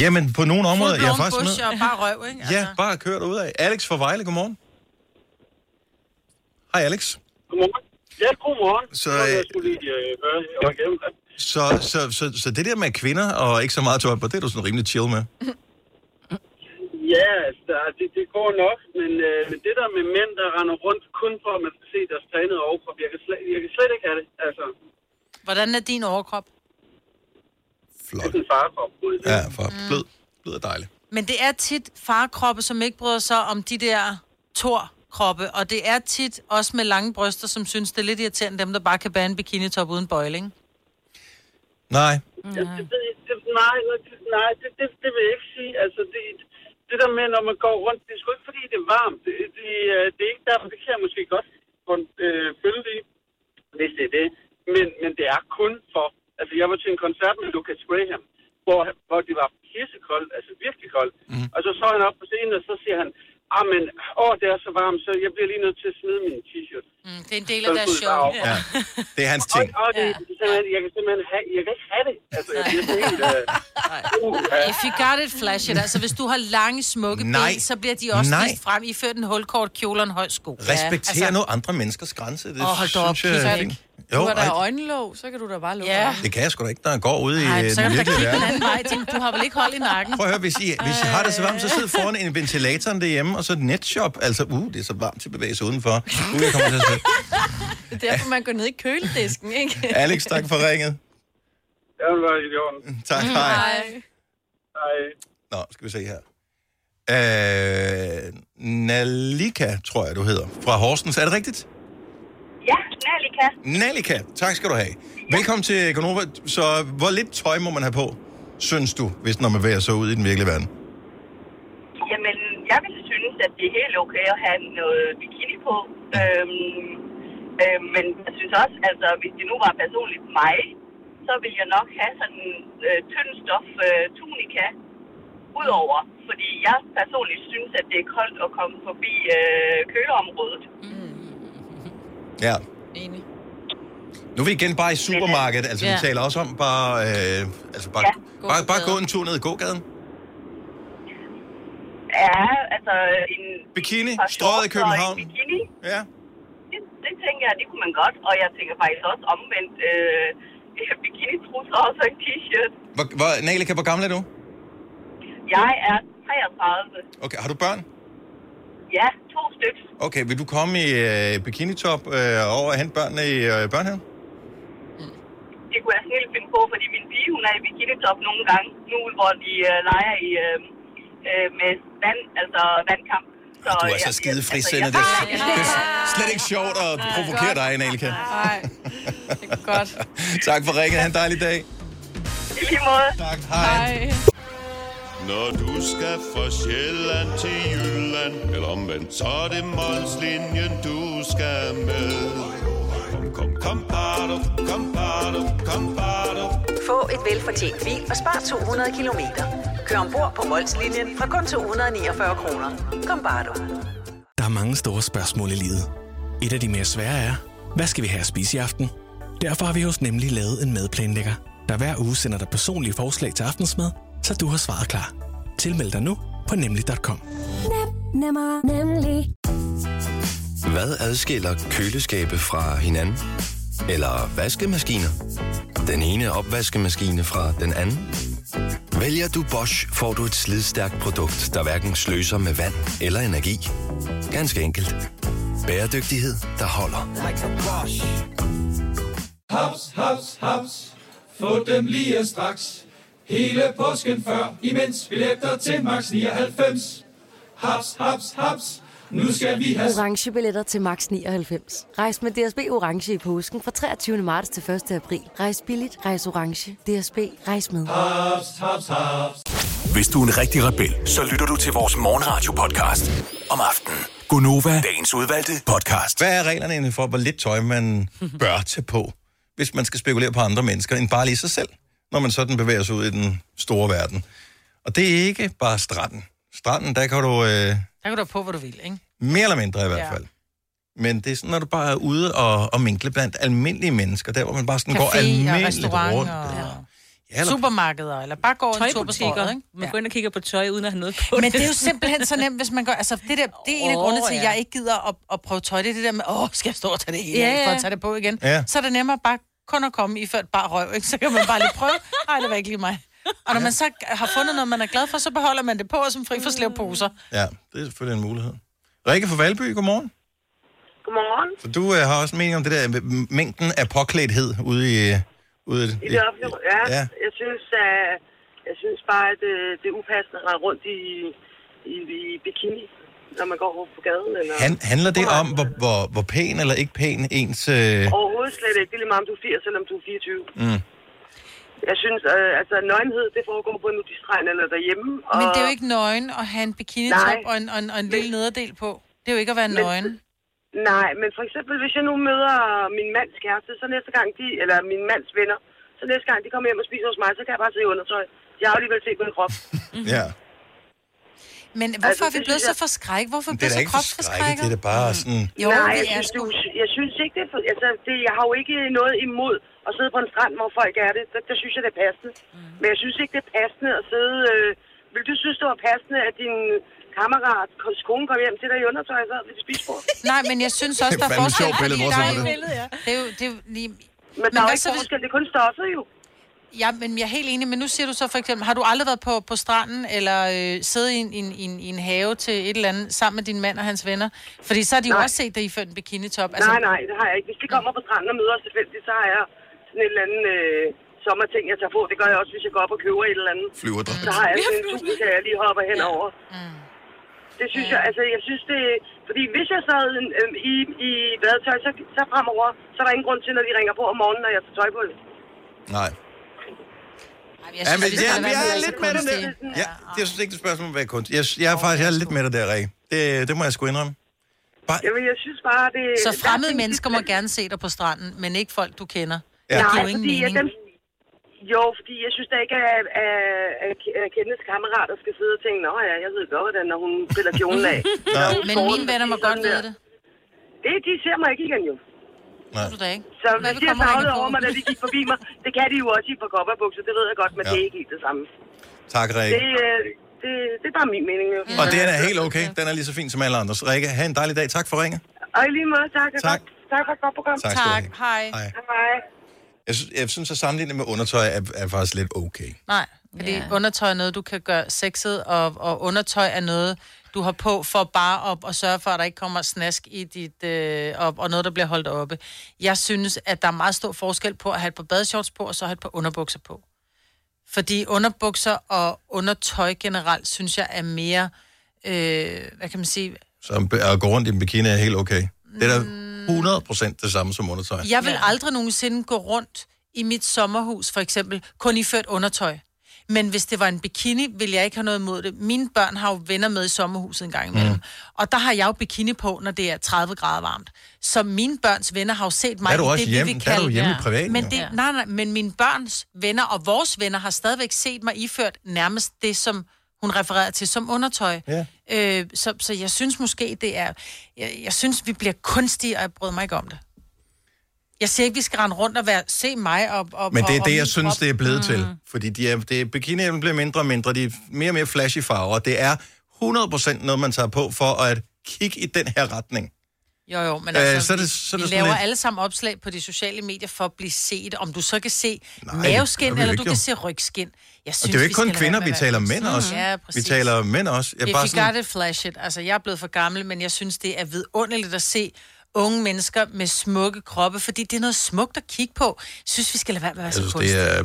Speaker 1: Jamen, på nogle områder, jeg er
Speaker 3: Full-blown
Speaker 1: faktisk
Speaker 3: bush
Speaker 1: med.
Speaker 3: og bare røv, ikke?
Speaker 1: Ja, bare kør ud af. Alex fra Vejle, godmorgen. Hej Alex. Godmorgen.
Speaker 13: Ja, godmorgen.
Speaker 1: Så, øh,
Speaker 13: skulle lige øh, høre og igennem det.
Speaker 1: så, så, så, så det der med kvinder og ikke så meget tøj på, det er du sådan rimelig chill med.
Speaker 13: Ja, altså, der- det, det går nok, men, øh, men det der med mænd, der render rundt kun for, at man skal se deres trænede overkrop, jeg kan, slet, jeg kan slet ikke have det. Altså,
Speaker 3: Hvordan er din overkrop?
Speaker 1: Flot.
Speaker 13: Det er en farkrop.
Speaker 1: Ja, for blød, blød og dejlig.
Speaker 3: Men det er tit farkroppe, som ikke bryder sig om de der torkroppe, og det er tit også med lange bryster, som synes, det er lidt irriterende, dem der bare kan bære en bikinitop uden bøjling. Mhm.
Speaker 1: Nej.
Speaker 3: Mm.
Speaker 13: Ja, det, det, det, nej, det, nej det, det, det vil jeg ikke sige. Altså, det, det der med, når man går rundt, det er sgu ikke, fordi det er varmt. Det, det, øh, det er ikke der, det kan jeg måske godt få en, øh, følge det i, hvis det er det. Men, men det er kun for... Altså, jeg var til en koncert med Lucas Graham, hvor, hvor det var pissekoldt, altså virkelig koldt. Mm. Og så så han op på scenen, og så siger han, ah, men, åh, det er så varmt, så jeg bliver lige nødt til at smide min t-shirt.
Speaker 3: Mm, det er en del
Speaker 13: af deres show.
Speaker 1: Ja. Det er hans
Speaker 13: Og,
Speaker 1: ting.
Speaker 13: og det, det er simpelthen, jeg kan simpelthen have, jeg kan ikke have det. Altså, jeg bliver sådan helt... Øh, uh,
Speaker 3: If you got it, flash it. Altså, hvis du har lange, smukke
Speaker 1: Nej.
Speaker 3: ben, så bliver de også
Speaker 1: Nej.
Speaker 3: vist frem. I fører den hulkort kjole og en høj sko.
Speaker 1: Respekter ja, altså... nu andre menneskers grænse. Det
Speaker 3: Åh, hold da op,
Speaker 1: synes jeg er
Speaker 3: Peter.
Speaker 1: fint.
Speaker 2: Jo,
Speaker 1: Jo,
Speaker 2: du har da
Speaker 1: ej,
Speaker 2: øjenlåg, så kan du da bare lukke
Speaker 3: Ja.
Speaker 2: øjnene.
Speaker 1: det kan jeg sgu da ikke, når jeg går ude i Ej,
Speaker 3: Ej, så
Speaker 1: den
Speaker 3: kan du da
Speaker 1: virkelige
Speaker 3: kigge den
Speaker 1: verden.
Speaker 3: anden vej. tænke, Du har vel ikke hold i nakken?
Speaker 1: Prøv at høre, hvis I, hvis I har det så varmt, så sid foran en ventilatoren derhjemme, og så et netshop. Altså, uh, det er så varmt til at bevæge sig udenfor. Uh, jeg kommer til at sige.
Speaker 2: Det er derfor, man går ned i køledisken, ikke?
Speaker 1: Alex, tak for ringet.
Speaker 13: Det var i orden.
Speaker 1: Tak,
Speaker 3: Mm,
Speaker 1: hej.
Speaker 13: Hej.
Speaker 1: Nå, skal vi se her. Øh, Nalika, tror jeg, du hedder, fra Horsens. Er det rigtigt?
Speaker 14: Ja, Nalika.
Speaker 1: Nalika, tak skal du have. Velkommen til Gonova. Så hvor lidt tøj må man have på, synes du, hvis når man bevæger sig ud i den virkelige verden?
Speaker 14: Jamen, jeg vil synes, at det er helt okay at have noget bikini på. Øhm, øhm, men jeg synes også, altså, hvis det nu var personligt mig, så ville jeg nok have sådan en øh, tynd stof øh, tunika udover. Fordi jeg personligt synes, at det er koldt at komme forbi øh, køleområdet.
Speaker 1: Ja.
Speaker 2: Enig.
Speaker 1: Nu er vi igen bare i supermarkedet. Altså, ja.
Speaker 14: Ja.
Speaker 1: vi taler også om bare... Øh, altså, bare, ja, bare, bare gå en tur ned i gågaden.
Speaker 14: Ja, altså en...
Speaker 1: Bikini,
Speaker 14: et par
Speaker 1: strøget
Speaker 14: shorts
Speaker 1: i
Speaker 14: og
Speaker 1: København.
Speaker 14: En bikini.
Speaker 1: Ja.
Speaker 14: Det, det tænker jeg, det kunne man godt. Og jeg tænker faktisk også omvendt øh, bikini-trusser og så en t-shirt.
Speaker 1: Hvor, hvor, Nalika, hvor gammel er du?
Speaker 14: Jeg er 33.
Speaker 1: Okay, har du børn?
Speaker 14: Ja, to stykker.
Speaker 1: Okay, vil du komme i øh, bikinitop øh, over og hente børnene i øh, børnehaven?
Speaker 14: Det kunne jeg snilt finde på, fordi min pige, hun er i bikinitop nogle gange. Nu hvor de øh, leger i, øh, øh, med vand, altså vandkamp. Så,
Speaker 1: Du er så skide
Speaker 14: altså,
Speaker 1: frisindet. Det, er- det er slet ikke sjovt at provokere dig, Nalika.
Speaker 2: Nej, det er godt.
Speaker 1: Tak for ringen. Ha' en dejlig dag.
Speaker 14: I lige måde.
Speaker 1: Tak, hej.
Speaker 2: hej.
Speaker 15: Når du skal fra Sjælland til Jylland, eller omvendt, så er det Molslinjen, du skal med. Kom, kom, kom, bado, kom, bado, kom, bado.
Speaker 16: Få et velfortjent bil og spar 200 kilometer. Kør ombord på Molslinjen fra kun 249 kroner. Kom bare du.
Speaker 17: Der er mange store spørgsmål i livet. Et af de mere svære er, hvad skal vi have at spise i aften? Derfor har vi hos Nemlig lavet en madplanlægger, der hver uge sender dig personlige forslag til aftensmad, så du har svaret klar. Tilmeld dig nu på nemlig.com.
Speaker 18: Nem, nemmer, nemlig.
Speaker 19: Hvad adskiller køleskabe fra hinanden? Eller vaskemaskiner? Den ene opvaskemaskine fra den anden? Vælger du Bosch, får du et slidstærkt produkt, der hverken sløser med vand eller energi. Ganske enkelt. Bæredygtighed, der holder.
Speaker 11: Like a Bosch. Haps, haps, haps. Få dem lige straks. Hele påsken før, imens billetter til max 99. Haps, haps, haps. Nu skal vi have
Speaker 12: orange billetter til max 99. Rejs med DSB orange i påsken fra 23. marts til 1. april. Rejs billigt, rejs orange. DSB rejs
Speaker 11: Ah.
Speaker 12: med.
Speaker 11: Haps, haps, haps.
Speaker 6: Hvis du er en rigtig rebel, så lytter du til vores morgenradio-podcast om aftenen.
Speaker 1: Gunova,
Speaker 6: Dagens udvalgte
Speaker 1: podcast. Altså, Hvad er reglerne egentlig for, hvor lidt tøj man bør tage på, hvis man skal spekulere på andre mennesker, end bare lige sig selv, når man sådan bevæger sig ud i den store verden? Og det er ikke bare stranden. Stranden, der kan du øh,
Speaker 3: Der kan du have på, hvor du vil, ikke?
Speaker 1: mere eller mindre i hvert
Speaker 3: Ja.
Speaker 1: fald. Men det er sådan, når du bare er ude og, og minkle blandt almindelige mennesker, der hvor man bare sådan går
Speaker 3: Café og
Speaker 1: almindeligt rundt.
Speaker 3: restaurant og
Speaker 1: Ja, eller-
Speaker 3: supermarkeder, eller bare går en tur på
Speaker 4: Tøjbutikker.
Speaker 3: strøget, ikke?
Speaker 4: Man går ind og kigger på tøj, uden at have noget på
Speaker 3: Men det er jo simpelthen så nemt, hvis man går... Altså, det, der, det er en af
Speaker 4: Åh,
Speaker 3: grundene til, at
Speaker 4: ja.
Speaker 3: jeg ikke gider at, at prøve tøj. Det er det der med, åh, skal jeg stå og tage det hele
Speaker 4: Ja,
Speaker 3: af, for
Speaker 4: ja.
Speaker 3: at tage det på igen?
Speaker 4: Ja.
Speaker 3: Så er det nemmere bare kun at komme i ført bare røv, ikke? Så kan man bare lige prøve. Nej, det var ikke lige mig. Og når man så har fundet noget, man er glad for, så beholder man det på, og som fri for slævposer.
Speaker 1: Ja, det er selvfølgelig en mulighed. Rikke fra Valby, godmorgen.
Speaker 20: Godmorgen.
Speaker 1: Så du øh, har også mening om det der med mængden af påklædthed ude i... øh, Ude
Speaker 20: I det offentlige rum. Ja,
Speaker 1: Ja.
Speaker 20: ja. Jeg, synes, at, jeg synes bare, at det, det er upassende at rende rundt i, i, i bikini, når man går på gaden. Eller...
Speaker 1: Han, handler det om, hvor, hvor, hvor pæn eller ikke pæn ens... Øh...
Speaker 20: Overhovedet slet ikke. Det er lige meget, om du er 80, eller om du er 24.
Speaker 3: Mhm.
Speaker 1: Mm.
Speaker 20: Jeg synes, øh, altså nøgenhed, det foregår på en nudistregn eller derhjemme. Og...
Speaker 3: Men det er jo ikke nøgen at have en bikinitop
Speaker 20: Nej.
Speaker 3: og en, og, en, og en lille nederdel på. Det er jo ikke at være
Speaker 20: Men-
Speaker 3: nøgen.
Speaker 20: Nej, men for eksempel, hvis jeg nu møder min mands kæreste, så næste gang de, eller min mands venner, så næste gang de kommer hjem og spiser hos mig, så kan jeg bare sidde i undertøj. Jeg har jo alligevel set min krop.
Speaker 1: Ja.
Speaker 3: Men hvorfor
Speaker 20: Altså,
Speaker 3: er vi
Speaker 20: det
Speaker 3: blevet
Speaker 20: synes
Speaker 3: så
Speaker 20: jeg-
Speaker 3: forskrækket? Hvorfor er vi
Speaker 1: Det er
Speaker 3: blevet
Speaker 1: da
Speaker 3: så
Speaker 1: ikke
Speaker 3: kropsforskrækket? Mhm.
Speaker 1: forskrækket, det er da bare sådan...
Speaker 3: Jo,
Speaker 20: Nej,
Speaker 3: det
Speaker 20: jeg
Speaker 3: er
Speaker 20: synes,
Speaker 3: sgu.
Speaker 20: du, jeg synes ikke, det, er for- altså, det, jeg har jo ikke noget imod at sidde på en strand, hvor folk er det. Der, der synes jeg, det er passende. Mm. Men jeg synes ikke, det er passende at sidde... Øh, vil du synes, det var passende, at din kammerat, kons- kone, kom hjem til dig i undertøj, så ved det spisebord?
Speaker 3: Nej, men jeg synes også,
Speaker 20: Det er
Speaker 3: der er
Speaker 20: fandme
Speaker 3: forskel.
Speaker 20: sjovt billede, hvor så er det?
Speaker 3: ja. Det er jo, det er jo lige...
Speaker 20: Men der er jo
Speaker 3: hvad
Speaker 20: ikke
Speaker 3: så hvis-
Speaker 20: forskel, det er kun stoffet jo.
Speaker 3: Ja, men jeg er helt enig, men nu siger du så for eksempel, har du aldrig været på, på stranden, eller øh, siddet i en, i, en, i, en, i en have til et eller andet, sammen med din mand og hans venner? Fordi så har de jo
Speaker 20: Nej.
Speaker 3: også set dig i før en bikinitop.
Speaker 20: Altså... Nej, nej, det har jeg ikke. Hvis de kommer på stranden og møder os tilfældigt, så har jeg sådan et eller andet øh, sommerting, jeg tager på. Det gør jeg også, hvis jeg går op og køber et eller andet.
Speaker 1: Flyverdragt.
Speaker 20: Så har jeg sådan en tusind, jeg lige hopper henover. Mm. Det synes jeg, altså jeg synes det... Fordi hvis jeg sad øh, i, i badetøj, så, så fremover, så er der ingen grund til, når de ringer på om morgenen, når jeg tager tøj på.
Speaker 1: Nej.
Speaker 3: Jeg
Speaker 1: Ja, men
Speaker 3: vi skal
Speaker 1: ja,
Speaker 3: lade være
Speaker 1: jeg
Speaker 3: med
Speaker 1: er
Speaker 3: at
Speaker 1: lidt med det
Speaker 3: kunstige.
Speaker 1: der. Ja, det er synes ikke et spørgsmål om at være kunst. Jeg, jeg er faktisk jeg er lidt med dig der, Rikke. Det, det må jeg sgu indrømme.
Speaker 20: Jamen, jeg synes bare, det...
Speaker 3: Så fremmede mennesker må gerne se dig på stranden, men ikke folk, du kender.
Speaker 1: Ja.
Speaker 3: Det
Speaker 20: Nej,
Speaker 3: giver jo ingen
Speaker 20: fordi jeg,
Speaker 3: mening.
Speaker 20: dem, jo, fordi jeg synes da ikke, at, at, at, at Kenneths kammerater skal sidde og tænke, nå ja, jeg ved godt, hvordan når hun piller kjolen af.
Speaker 3: Nå.
Speaker 20: Når hun
Speaker 3: Men
Speaker 20: får
Speaker 3: mine
Speaker 20: den,
Speaker 3: venner må
Speaker 20: fordi
Speaker 3: godt
Speaker 20: sådan
Speaker 3: vide
Speaker 20: der. Det, de ser mig ikke igen jo.
Speaker 1: Nej.
Speaker 3: Du da ikke.
Speaker 20: Så
Speaker 3: Hvad
Speaker 20: Hvad
Speaker 3: vil
Speaker 20: de har
Speaker 3: komme og ringe
Speaker 20: savlet
Speaker 3: på?
Speaker 20: over mig, da de gik forbi mig. Det kan de jo også i et par kopperbukser, det ved jeg godt, men
Speaker 1: Ja.
Speaker 20: ja. det er ikke helt det samme.
Speaker 1: Tak, Rikke.
Speaker 20: Det, øh, det, det er bare min mening jo.
Speaker 3: øh,
Speaker 1: Og den er helt okay. Den er lige så fin som alle andres. Rikke, have en dejlig dag. Tak for ringet.
Speaker 20: Og i lige måde, tak.
Speaker 1: Tak.
Speaker 20: Tak for et godt program.
Speaker 1: Tak skal du Tak. have.
Speaker 3: Hej.
Speaker 1: Hej.
Speaker 20: Hej.
Speaker 1: Jeg, synes, jeg synes, at sammenlignet med undertøj er, er faktisk lidt okay.
Speaker 3: Nej, fordi yeah. undertøj er noget, du kan gøre sexet, og, og undertøj er noget, du har på for bare at, at sørge for, at der ikke kommer snask i dit, øh, op, og noget, der bliver holdt oppe. Jeg synes, at der er meget stor forskel på at have et par badeshorts på, og så have et par underbukser på. Fordi underbukser og undertøj generelt, synes jeg, er mere, øh, hvad kan man sige,
Speaker 1: Så at gå rundt i en bikini er helt okay. Det er da
Speaker 3: Mm.
Speaker 1: 100% det samme som undertøj.
Speaker 3: Jeg vil aldrig nogensinde gå rundt i mit sommerhus, for eksempel, kun i ført undertøj. Men hvis det var en bikini, ville jeg ikke have noget imod det. Mine børn har jo venner med i sommerhuset en gang imellem. Mm. Og der har jeg jo bikini på, når det er 30 grader varmt. Så mine børns venner har jo set mig
Speaker 1: Der er du
Speaker 3: i
Speaker 1: også
Speaker 3: det, vi
Speaker 1: hjemme-
Speaker 3: vil
Speaker 1: der er
Speaker 3: kalde...
Speaker 1: du hjemme i privaten,
Speaker 3: men
Speaker 1: jo.
Speaker 3: det,
Speaker 1: Ja.
Speaker 3: nej, nej, men mine børns venner og vores venner har stadigvæk set mig iført nærmest det, som hun refererede til som undertøj.
Speaker 1: Ja.
Speaker 3: Øh, så, så jeg synes måske, det er... Jeg, jeg synes, vi bliver kunstige, og jeg bryder mig ikke om det. Jeg siger ikke, vi skal rende rundt og være, se mig og... og
Speaker 1: Men det er
Speaker 3: og-
Speaker 1: det,
Speaker 3: og
Speaker 1: jeg
Speaker 3: min
Speaker 1: synes,
Speaker 3: krop.
Speaker 1: det er blevet mm. til.
Speaker 3: Mm.
Speaker 1: Fordi de er, det er, bikinihjelmen bliver mindre og mindre, de er mere og mere flash i farver, og det er 100% noget, man tager på for at kigge i den her retning.
Speaker 3: Jo, jo, men
Speaker 1: Øh,
Speaker 3: altså, øh,
Speaker 1: så
Speaker 3: så
Speaker 1: er det-
Speaker 3: det,
Speaker 1: så
Speaker 3: så
Speaker 1: er det
Speaker 3: vi
Speaker 1: sådan
Speaker 3: laver
Speaker 1: lidt-
Speaker 3: alle sammen opslag på de sociale medier for at blive set. Om du så kan se Nej,
Speaker 1: Nej, det gør
Speaker 3: maveskin,
Speaker 1: vi
Speaker 3: eller
Speaker 1: jo
Speaker 3: du
Speaker 1: ikke,
Speaker 3: kan
Speaker 1: jo.
Speaker 3: se rygskin. Jeg
Speaker 1: Og det er jo ikke
Speaker 3: vi
Speaker 1: kun
Speaker 3: skal lade
Speaker 1: kvinder,
Speaker 3: være
Speaker 1: vi
Speaker 3: med at
Speaker 1: taler
Speaker 3: være-
Speaker 1: mænd
Speaker 3: Mhm.
Speaker 1: også.
Speaker 3: Ja,
Speaker 1: vi
Speaker 3: præcis.
Speaker 1: taler mænd også.
Speaker 3: Jeg If bare you got it, flash it. Altså, jeg er blevet for gammel, men jeg synes, det er vidunderligt at se unge mennesker med smukke kroppe, fordi det er noget smukt at kigge på. Jeg synes, vi skal lade være med at være
Speaker 1: Jeg
Speaker 3: så
Speaker 1: synes,
Speaker 3: kunstige.
Speaker 1: det er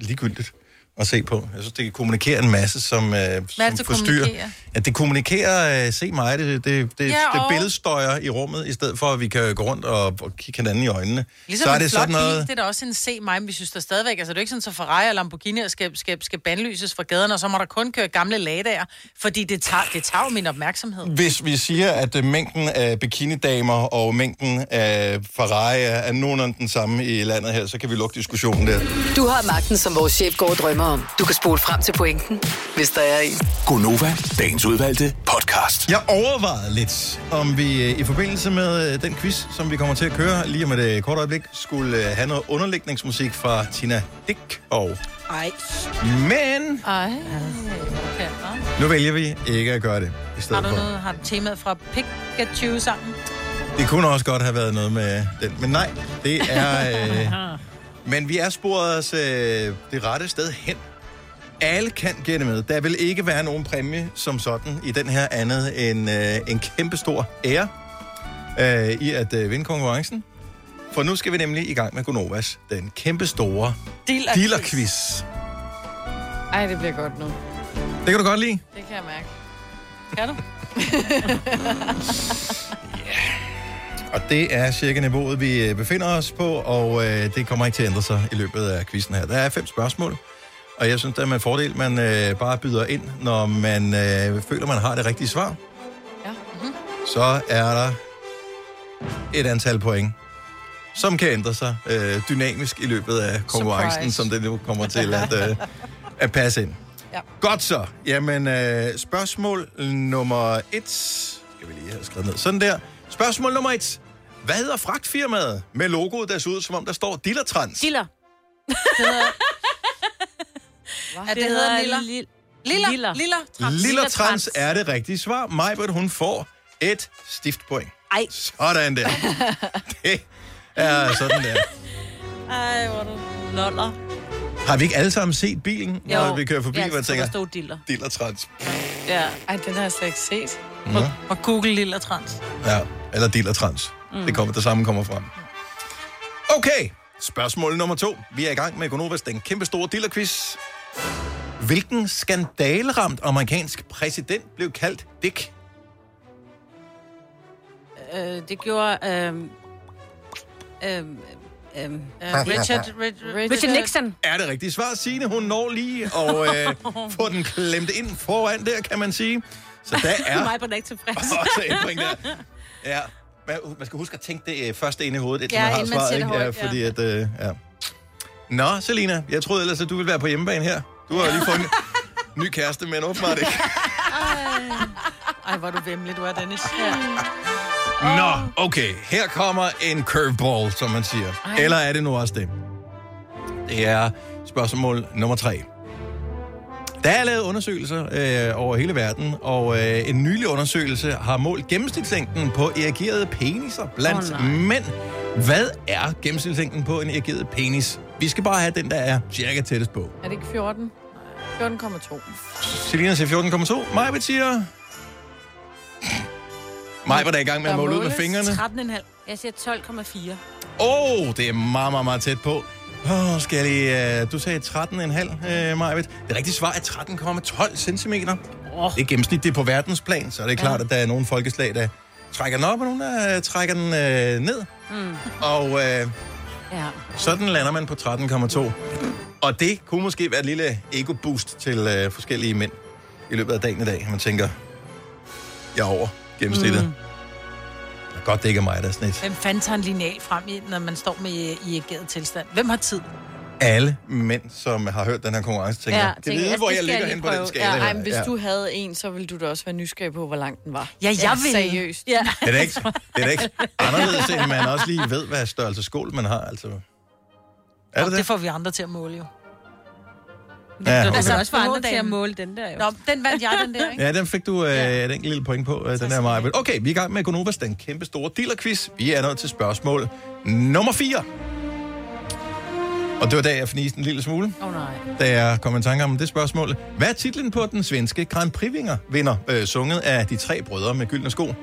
Speaker 1: ligegyldigt at se på. Jeg synes, det kommunikerer en masse, som, øh,
Speaker 3: Hvad er
Speaker 1: som
Speaker 3: det, det
Speaker 1: forstyrrer.
Speaker 3: kommunikerer?
Speaker 1: At det kommunikerer, øh, se mig, det, det,
Speaker 3: Ja,
Speaker 1: det, ja, det
Speaker 3: og-
Speaker 1: billedstøjer i rummet, i stedet for, at vi kan gå rundt og, og kigge hinanden i øjnene.
Speaker 3: Ligesom så er det en flot sådan noget... bil, det er da også en se mig, men vi synes der stadigvæk, altså det er jo ikke sådan, så Ferrari og Lamborghini skal, skal, skal bandlyses fra gaderne, og så må der kun køre gamle ladager, fordi det tager, det tager jo min opmærksomhed.
Speaker 1: Hvis vi siger, at øh, mængden af bikinidamer og mængden af Ferrari er- er nogenlunde den samme i landet her, så kan vi lukke diskussionen der.
Speaker 5: Du har magten, som vores chef går og drømmer om. Du kan spole frem til pointen, hvis der er en.
Speaker 6: Gonova, dagens udvalgte podcast.
Speaker 1: Jeg overvejede lidt, om vi øh, i forbindelse med øh, den quiz, som vi kommer til at køre lige om et øh, kort øjeblik, skulle øh, have noget underlægningsmusik fra Tina Dick. Og...
Speaker 3: Ej.
Speaker 1: Men...
Speaker 3: Ej. Okay, nå.
Speaker 1: Nu vælger vi ikke at gøre det i
Speaker 3: har
Speaker 1: stedet
Speaker 3: du
Speaker 1: for.
Speaker 3: noget, har du temaet fra Pikachu-sangen?
Speaker 1: Det kunne også godt have været noget med øh, den, men nej, det er... Øh, men vi er sporet os øh, det rette sted hen. Alle kan gætte med. Der vil ikke være nogen præmie som sådan i den her andet end øh, en kæmpe stor ære øh, i at øh, vinde konkurrencen. For nu skal vi nemlig i gang med Gonovas, den kæmpe store
Speaker 2: Dealerquiz.
Speaker 1: dealerquiz.
Speaker 2: Ej, det bliver godt nu.
Speaker 1: Det kan du godt lide?
Speaker 2: Det kan jeg mærke. Kan du?
Speaker 1: Og det er cirka niveauet, vi øh, befinder os på, og øh, det kommer ikke til at ændre sig i løbet af quizzen her. Der er fem spørgsmål, og jeg synes, det er med fordel, man øh, bare byder ind, når man øh, føler, man har det rigtige svar. Ja. Mm-hmm. Så er der et antal point, som kan ændre sig øh, dynamisk i løbet af konkurrencen,
Speaker 6: Surprise.
Speaker 1: som det nu kommer til at, øh, at passe ind.
Speaker 3: Ja.
Speaker 1: Godt så. Jamen, øh, spørgsmål nummer et. Skal vi lige have skrevet ned. Sådan der. Spørgsmål nummer et. Hvad hedder fragtfirmaet med logoet, der ser ud, som om der står Dillertrans?
Speaker 4: Diller.
Speaker 3: Er det, det hedder Lilla? Lilla? Lilla? Lilla? Trans.
Speaker 1: Lillertrans er det rigtige svar. Majbert, hun får et stift point.
Speaker 4: Ej.
Speaker 1: Sådan der. Det er sådan der.
Speaker 4: Ej, hvor er du loller.
Speaker 1: Har vi ikke alle sammen set bilen, når
Speaker 4: Jo.
Speaker 1: vi kører forbi,
Speaker 4: Ja,
Speaker 1: hvor jeg
Speaker 4: så der
Speaker 1: tænker,
Speaker 4: stod diller.
Speaker 1: Dillertrans.
Speaker 3: Ja. Ej, den har jeg slet ikke set.
Speaker 1: Nå.
Speaker 3: Og Google Lilla Trans.
Speaker 1: Ja, eller Dillertrans.
Speaker 3: Mm.
Speaker 1: Det, kommer, det samme kommer frem. Okay, spørgsmål nummer to. Vi er i gang med Gonovas den kæmpe store dillerquiz. Hvilken skandaleramt amerikansk præsident blev kaldt Dick?
Speaker 4: Øh, det gjorde... Øh, øh, øh, øh, Richard, Richard, Richard Nixon.
Speaker 1: Er det rigtige svar, Signe? Hun når lige og øh, få den klemt ind foran der, kan man sige. Så der er
Speaker 4: Mig er ikke tilfreds.
Speaker 1: også en point der. Ja, man, man skal huske at tænke det øh, først ind i hovedet, indtil
Speaker 4: Ja,
Speaker 1: man har
Speaker 4: inden man
Speaker 1: svaret.
Speaker 4: siger det
Speaker 1: ikke?
Speaker 4: højt, ja.
Speaker 1: fordi at, øh, ja. Nå, Selina, jeg troede ellers, at du ville være på hjemmebane her. Du har jo lige fået en ny kæreste, men åbenbart ikke.
Speaker 3: Ej. Ej, hvor er du vemmelig, du er, Dennis. Ja.
Speaker 1: Nå, okay. Her kommer en curveball, som man siger.
Speaker 3: Ej.
Speaker 1: Eller er det nu også det? Det er spørgsmål nummer tre. Der er lavet undersøgelser øh, over hele verden, og øh, en nylig undersøgelse har målt gennemsnitslængden på erigerede peniser blandt oh, mænd. Hvad er gennemsnitslængden på en erigeret penis? Vi skal bare have den, der er cirka tættest på.
Speaker 2: Er det ikke 14? 14,2.
Speaker 1: Selina siger 14,2. Maja siger... Maja var da i gang med at måle ud med fingrene.
Speaker 4: 13,5. Jeg siger 12,4.
Speaker 1: Åh, oh, det er meget, meget, meget tæt på. Åh, oh, skal jeg lige... Uh, du sagde 13,5, uh, Majbet. Det rigtige svar er 13,12 cm. Oh. Det er gennemsnitligt på verdensplan, så er det klart, ja. at der er nogle folkeslag, der trækker den op, og nogle, der uh, trækker den uh, ned.
Speaker 4: Mm.
Speaker 1: Og uh,
Speaker 4: Ja.
Speaker 1: sådan lander man på 13,2. Og det kunne måske være et lille ego-boost til uh, forskellige mænd i løbet af dagen i dag. Man tænker, jeg er over gennemsnittet. Mm. Godt, det ikke er mig, der er sådan et
Speaker 3: Hvem fanden tager en lineal frem, i, når man står med i- i ageret tilstand? Hvem har tid?
Speaker 1: alle mænd, som har hørt den her konkurrence, tænker, ja, tænker
Speaker 2: tænker,
Speaker 1: det ved,
Speaker 2: altså,
Speaker 1: hvor
Speaker 2: det skal
Speaker 1: jeg ligger
Speaker 2: lige
Speaker 1: hen på
Speaker 2: prøve.
Speaker 1: den skala.
Speaker 2: Ja,
Speaker 1: her.
Speaker 2: ej, men hvis
Speaker 1: Ja.
Speaker 2: du havde en, så ville du da også være nysgerrig på, hvor lang den var.
Speaker 3: Ja, jeg ville.
Speaker 2: Seriøst.
Speaker 3: Ja.
Speaker 1: Det er da ikke, det er da ikke anderledes, end man også lige ved, hvad størrelse skål man har. Altså. Er det
Speaker 3: det?
Speaker 1: det?
Speaker 3: det får vi andre til at måle jo.
Speaker 1: Ja, okay.
Speaker 4: Altså, også for andre til at
Speaker 3: Måldagen.
Speaker 4: måle den der, jo.
Speaker 3: Nå, den vandt jeg, den der, ikke?
Speaker 1: Ja, den fik du øh, et enkelt lille point på, øh, den her Maja. Okay, vi er i gang med Gonovas, den kæmpe store dealerquiz. Vi er nået til spørgsmål nummer 4. Og det var da, jeg fniste en lille smule,
Speaker 3: Åh oh, nej.
Speaker 1: da jeg kom i tanke om det spørgsmål. Hvad er titlen på den svenske Grand Prix-vinder, vinder, øh, sunget af de tre brødre med gyldne sko?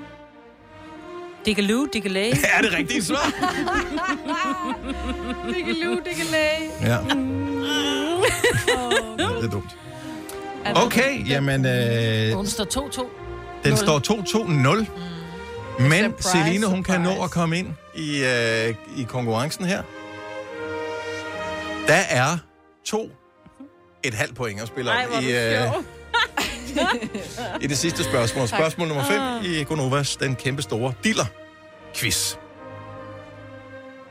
Speaker 4: Diggaloo, diggalæge.
Speaker 1: Er det rigtigt svar?
Speaker 4: diggaloo, diggalæge.
Speaker 1: Ja. Ja, det er dumt.
Speaker 4: Mm.
Speaker 1: Okay, jamen, øh,
Speaker 3: Hun står 2-2.
Speaker 1: den
Speaker 3: Nul.
Speaker 1: står 2-2-0. Men
Speaker 3: Surprise,
Speaker 1: Celine, hun kan nå at komme ind i, øh, i konkurrencen her. Der er to et halvt point at spille om
Speaker 4: Ej, hvor er
Speaker 1: i, øh,
Speaker 4: du sjov.
Speaker 1: i det sidste spørgsmål.
Speaker 4: Tak.
Speaker 1: Spørgsmål nummer 5
Speaker 4: Ah.
Speaker 1: i Gonovas, den kæmpe store diller-quiz.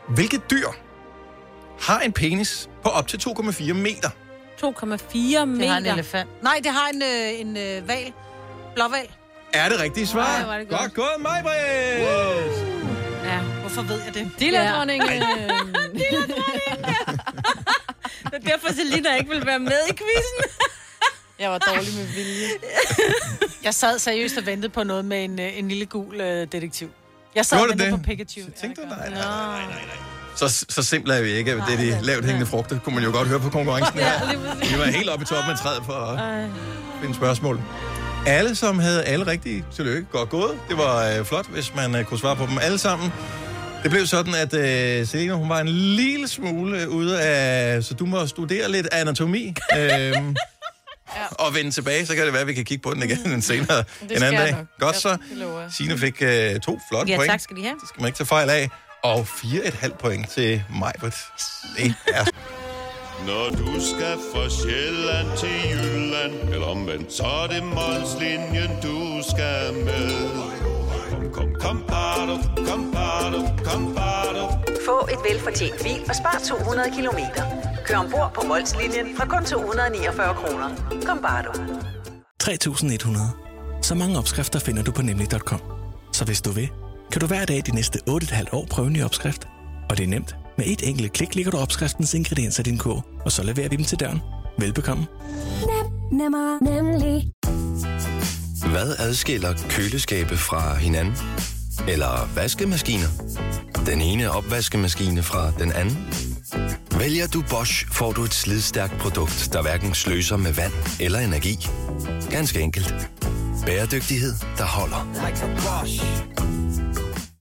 Speaker 1: Hvilket dyr har en penis på op til 2,4 meter?
Speaker 4: 2,4 meter.
Speaker 3: Det har en elefant. Nej, det har en, øh, en øh, val. Blåval.
Speaker 1: Er det rigtige svar?
Speaker 3: Ej, hvor er det godt.
Speaker 1: godt gået, mig, Britt!
Speaker 3: Ja. Hvorfor ved jeg det?
Speaker 4: Dillerdronningen. Det er derfor, Selina ikke vil være med i quizzen.
Speaker 2: Jeg var dårlig med vilje.
Speaker 3: Jeg sad seriøst og ventede på noget med en, øh, en lille gul øh, detektiv. Jeg sad og
Speaker 1: Gjorde du
Speaker 3: ventede
Speaker 1: det?
Speaker 3: på Pikachu. Så tænkte
Speaker 1: du, nej,
Speaker 3: nej, nej, nej,
Speaker 1: Så, så simpelt er vi ikke. Det er de lavt hængende frugter, kunne man jo godt høre på konkurrencen her. Vi var helt oppe i toppen af træet for at finde spørgsmål. Alle, som havde alle rigtige, tillykke, godt gået. Det var øh, flot, hvis man øh, kunne svare på dem alle sammen. Det blev sådan, at øh, Selena, hun var en lille smule øh, ude af... Så du må studere lidt anatomi. Øh, ja. Og vende tilbage, så kan det være, at vi kan kigge på den igen en senere
Speaker 4: skal
Speaker 1: en anden
Speaker 4: jeg
Speaker 1: dag.
Speaker 4: nok.
Speaker 1: Godt
Speaker 4: Ja,
Speaker 1: så.
Speaker 4: det lover jeg.
Speaker 1: Signe fik øh, to flotte
Speaker 4: Ja,
Speaker 1: point
Speaker 4: tak skal de have.
Speaker 1: skal man ikke tage fejl af. Og 4,5 point til Majbert. Det er...
Speaker 15: Når du skal fra Sjælland til Jylland, eller omvendt, så er det Molslinjen, du skal med. Kom, kom, kom, bado, kom, bado, kom, bado.
Speaker 16: Få et velfortjent bil og spar 200 kilometer. Kør ombord på Molslinjen fra kun 249 kroner. Kom bare du.
Speaker 17: 3100. Så mange opskrifter finder du på nemlig.com. Så hvis du vil, kan du hver dag de næste 8,5 år prøve en ny opskrift. Og det er nemt. Med et enkelt klik ligger du opskriftens ingredienser i din kog, og så leverer vi dem til døren. Velbekomme.
Speaker 18: Nem, nemmer, nemlig.
Speaker 19: Hvad adskiller køleskabe fra hinanden? Eller vaskemaskiner? Den ene opvaskemaskine fra den anden? Vælger du Bosch, får du et slidstærkt produkt, der hverken sløser med vand eller energi. Ganske enkelt. Bæredygtighed, der holder.
Speaker 11: Like a Bosch.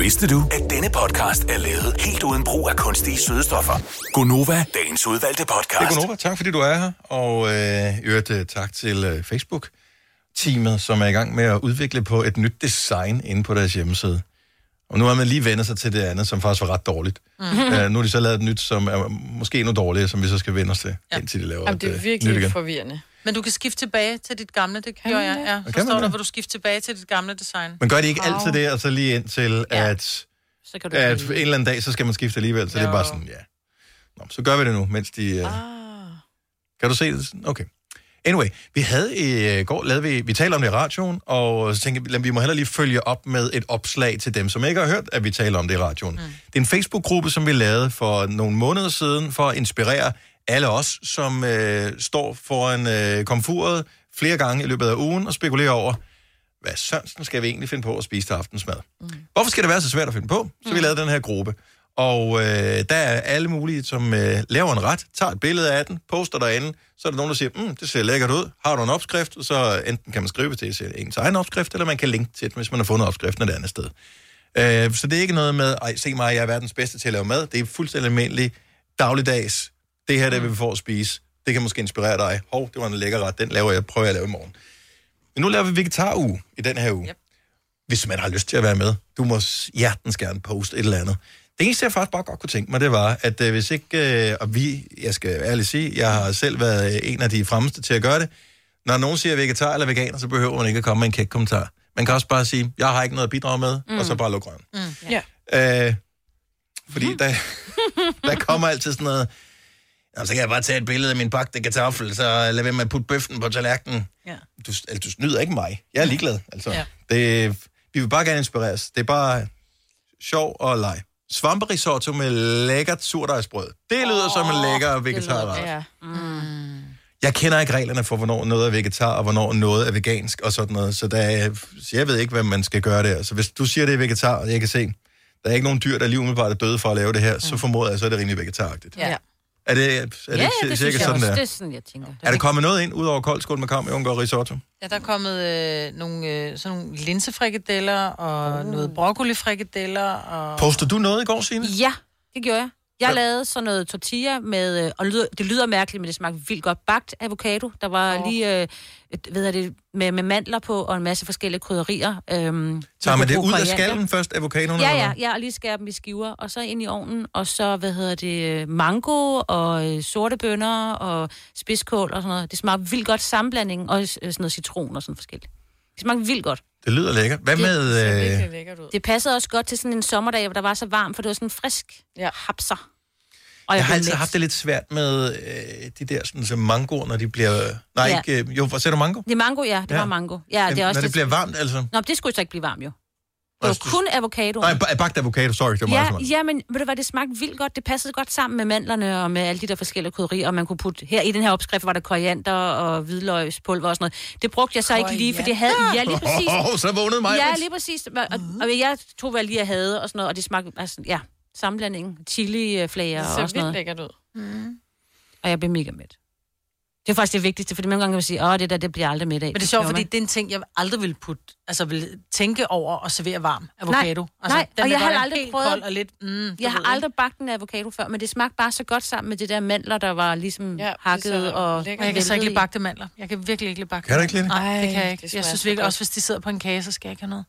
Speaker 6: Vidste du, at denne podcast er lavet helt uden brug af kunstige sødestoffer? Gonova, dagens udvalgte
Speaker 1: Det er
Speaker 6: podcast.
Speaker 1: Gunova. Tak fordi du er her. Og øh, i øvrigt øh, tak til øh, Facebook-teamet, som er i gang med at udvikle på et nyt design inde på deres hjemmeside. Og nu har man lige vendt sig til det andet, som faktisk var ret dårligt.
Speaker 2: Mhm.
Speaker 1: Mm. Øh, nu har de så lavet et nyt, som er måske endnu dårligere, som vi så skal vende os til, ja. indtil de laver
Speaker 2: Jamen, det er
Speaker 1: et, øh,
Speaker 2: virkelig
Speaker 1: nyt igen.
Speaker 2: forvirrende.
Speaker 3: Men du kan skifte tilbage til dit gamle, det gjorde jeg. Ja.
Speaker 1: man
Speaker 3: Forstår du,
Speaker 1: det?
Speaker 3: hvor du skifter tilbage til dit gamle design?
Speaker 1: Men gør de ikke altid det, og så lige indtil, ja. at,
Speaker 3: Så kan du
Speaker 1: at en eller anden dag, så skal man skifte alligevel. Så jo. det er
Speaker 3: Jo.
Speaker 1: bare sådan, ja. Nå, så gør vi det nu, mens de... Øh... Ah. Kan du se det? Okay. Anyway, vi havde i øh, går, lavede vi, vi talte om det i radioen, og så tænkte vi, lad- vi må heller lige følge op med et opslag til dem, som ikke har hørt, at vi taler om det i radioen. Mm. Det er en Facebook-gruppe, som vi lavede for nogle måneder siden, for at inspirere alle os, som øh, står foran øh, komfuret flere gange i løbet af ugen og spekulerer over, hvad sørensen skal vi egentlig finde på at spise til aftensmad? Mm. Hvorfor skal det være så svært at finde på? Så vi lavede den her gruppe. Og øh, der er alle mulige, som øh, laver en ret, tager et billede af den, poster derinde, så er der nogen, der siger, mm, det ser lækkert ud, har du en opskrift? Og så enten kan man skrive til sin ens egen opskrift, eller man kan linke til den, hvis man har fundet opskriften et andet sted. Øh, så det er ikke noget med, ej, se mig, jeg er verdens bedste til at lave mad. Det er fuldstændig almindelig dagligdags. Det her, det vi får at spise, det kan måske inspirere dig. Hov, det var en lækker ret, den laver jeg, prøver jeg at lave i morgen. Men nu laver vi vegetaruge i den her uge. Yep. hvis man har lyst til at være med, du må s- hjertens gerne poste et eller andet. Det eneste, jeg faktisk bare godt kunne tænke mig, det var, at øh, hvis ikke, øh, og vi, jeg skal ærligt sige, jeg har selv været øh, en af de fremmeste til at gøre det, når nogen siger vegetar eller veganer, så behøver man ikke at komme med en kæk kommentar. Man kan også bare sige, jeg har ikke noget at bidrage med, mm.
Speaker 2: Mm.
Speaker 1: og så bare lukke røven.
Speaker 2: Mm. Ja.
Speaker 1: Øh, fordi der, der kommer altid sådan noget, "Nå, så kan jeg bare tage et billede af min bagte kartoffel, så lad være med at putte bøften på tallerkenen.
Speaker 2: Ja.
Speaker 1: Du, altså, du snyder ikke mig. Jeg er ligeglad. Altså.
Speaker 2: Ja.
Speaker 1: Det, vi vil bare gerne inspireres. Det er bare sjov og leg. Svamperisotto med lækkert surdejsbrød. Det lyder oh, som en lækker vegetarret.
Speaker 2: Ja. Mm.
Speaker 1: Jeg kender ikke reglerne for, hvornår noget er vegetar, og hvornår noget er vegansk og sådan noget. Så, der er, så jeg ved ikke, hvad man skal gøre der. Så hvis du siger, det er vegetar, og jeg kan se, der er ikke nogen dyr, der lige umiddelbart er døde for at lave det her, så formoder jeg, så er det rimelig vegetaragtigt.
Speaker 4: Ja.
Speaker 1: Er det, er det
Speaker 4: Mm. Ja, ja,
Speaker 1: ikke
Speaker 4: det
Speaker 1: cirka
Speaker 4: synes jeg
Speaker 1: sådan,
Speaker 4: også.
Speaker 1: der?
Speaker 4: Det er sådan, jeg tænker.
Speaker 1: Er der kommet noget ind, udover koldskål med kam, og risotto?
Speaker 3: Ja, der er kommet øh, nogle, øh, sådan nogle linsefrikadeller og mm. noget broccolifrikadeller. Og...
Speaker 1: Postede du noget i går, Signe?
Speaker 4: Ja, det gjorde jeg. Jeg lavede sådan noget tortilla med, øh, og det lyder, det lyder mærkeligt, men det smagte vildt godt, bagt avocado. Der var oh. lige, øh, et- hvad hedder det, med, med mandler på og en masse forskellige krydderier. Øhm,
Speaker 1: Tager man det
Speaker 4: apropos
Speaker 1: ud af
Speaker 4: koriander.
Speaker 1: skallen først, avocadoen?
Speaker 4: Ja,
Speaker 1: eller
Speaker 4: ja,
Speaker 1: hvad?
Speaker 4: ja, og lige skære dem i skiver, og så ind i ovnen, og så, hvad hedder det, øh, mango og øh, sorte bønner og spidskål og sådan noget. Det smagte vildt godt sammenblandingen, og øh, sådan noget citron og sådan forskelligt. Det smagte vildt godt.
Speaker 1: Det lyder lækkert. Hvad
Speaker 4: Det
Speaker 1: med...
Speaker 4: ser
Speaker 1: Øh,
Speaker 4: virkelig Det passede også godt til sådan en sommerdag, hvor der var så varmt, for det var sådan frisk ja. hapser. Og
Speaker 1: jeg,
Speaker 4: jeg
Speaker 1: har
Speaker 4: blev
Speaker 1: altid
Speaker 4: mæt.
Speaker 1: haft det lidt svært med øh, de der sådan, som mangoer, når de bliver... Nej,
Speaker 4: Ja.
Speaker 1: ja. ikke... Øh, jo, hvor ser du mango?
Speaker 4: Det er mango, ja. Det
Speaker 1: Ja.
Speaker 4: ja. var mango. Ja, det er
Speaker 1: når
Speaker 4: også
Speaker 1: det bliver varmt, altså.
Speaker 4: Nå, men det skulle så ikke blive varmt, jo. Det
Speaker 1: Altså,
Speaker 4: var kun avocado.
Speaker 1: Nej, ba- bagt avocado, sorry. Det var meget
Speaker 4: Ja,
Speaker 1: for meget.
Speaker 4: ja, men ved du hvad, det smagte vildt godt. Det passede godt sammen med mandlerne og med alle de der forskellige krydderier, og man kunne putte... Her i den her opskrift var der koriander og hvidløgspulver og sådan noget. Det brugte jeg så ikke lige, for det havde... Ja, lige præcis.
Speaker 1: Åh, så vågnede mig.
Speaker 4: Ja, lige præcis. Og, og, og jeg tog, hvad jeg lige havde og sådan noget, og det smagte... Altså, ja, sammenblandingen. Chiliflager
Speaker 2: Det
Speaker 4: og
Speaker 2: ser
Speaker 4: sådan
Speaker 2: vildt
Speaker 4: noget.
Speaker 2: lækkert ud.
Speaker 7: øh,
Speaker 2: Mm.
Speaker 4: Og jeg blev mega mæt. Det er faktisk det vigtigste, for nogle gange kan man sige, åh, det der, det bliver jeg aldrig mæt af.
Speaker 3: Men det er sjovt, fordi det er en ting, jeg aldrig ville putte, altså ville tænke over at servere varm avocado.
Speaker 4: avocado. Nej,
Speaker 3: altså,
Speaker 4: nej
Speaker 3: den
Speaker 4: og
Speaker 3: vil
Speaker 4: jeg
Speaker 3: godt
Speaker 4: har
Speaker 3: være
Speaker 4: aldrig
Speaker 3: helt
Speaker 4: prøvet...
Speaker 3: kold og lidt, mm, du
Speaker 4: jeg har
Speaker 3: ved,
Speaker 4: aldrig bagt en avocado før, men det smagte bare så godt sammen med det der mandler, der var ligesom ja, hakket og...
Speaker 3: og jeg kan så ikke lide bagte mandler. Jeg kan virkelig ikke lide bagte
Speaker 1: Kan du ikke lide det?
Speaker 3: Nej, det kan jeg ikke.
Speaker 2: det
Speaker 3: jeg
Speaker 2: smager
Speaker 3: synes
Speaker 2: så
Speaker 3: virkelig
Speaker 2: godt.
Speaker 3: også, hvis de sidder på en kage, så skal jeg ikke have noget.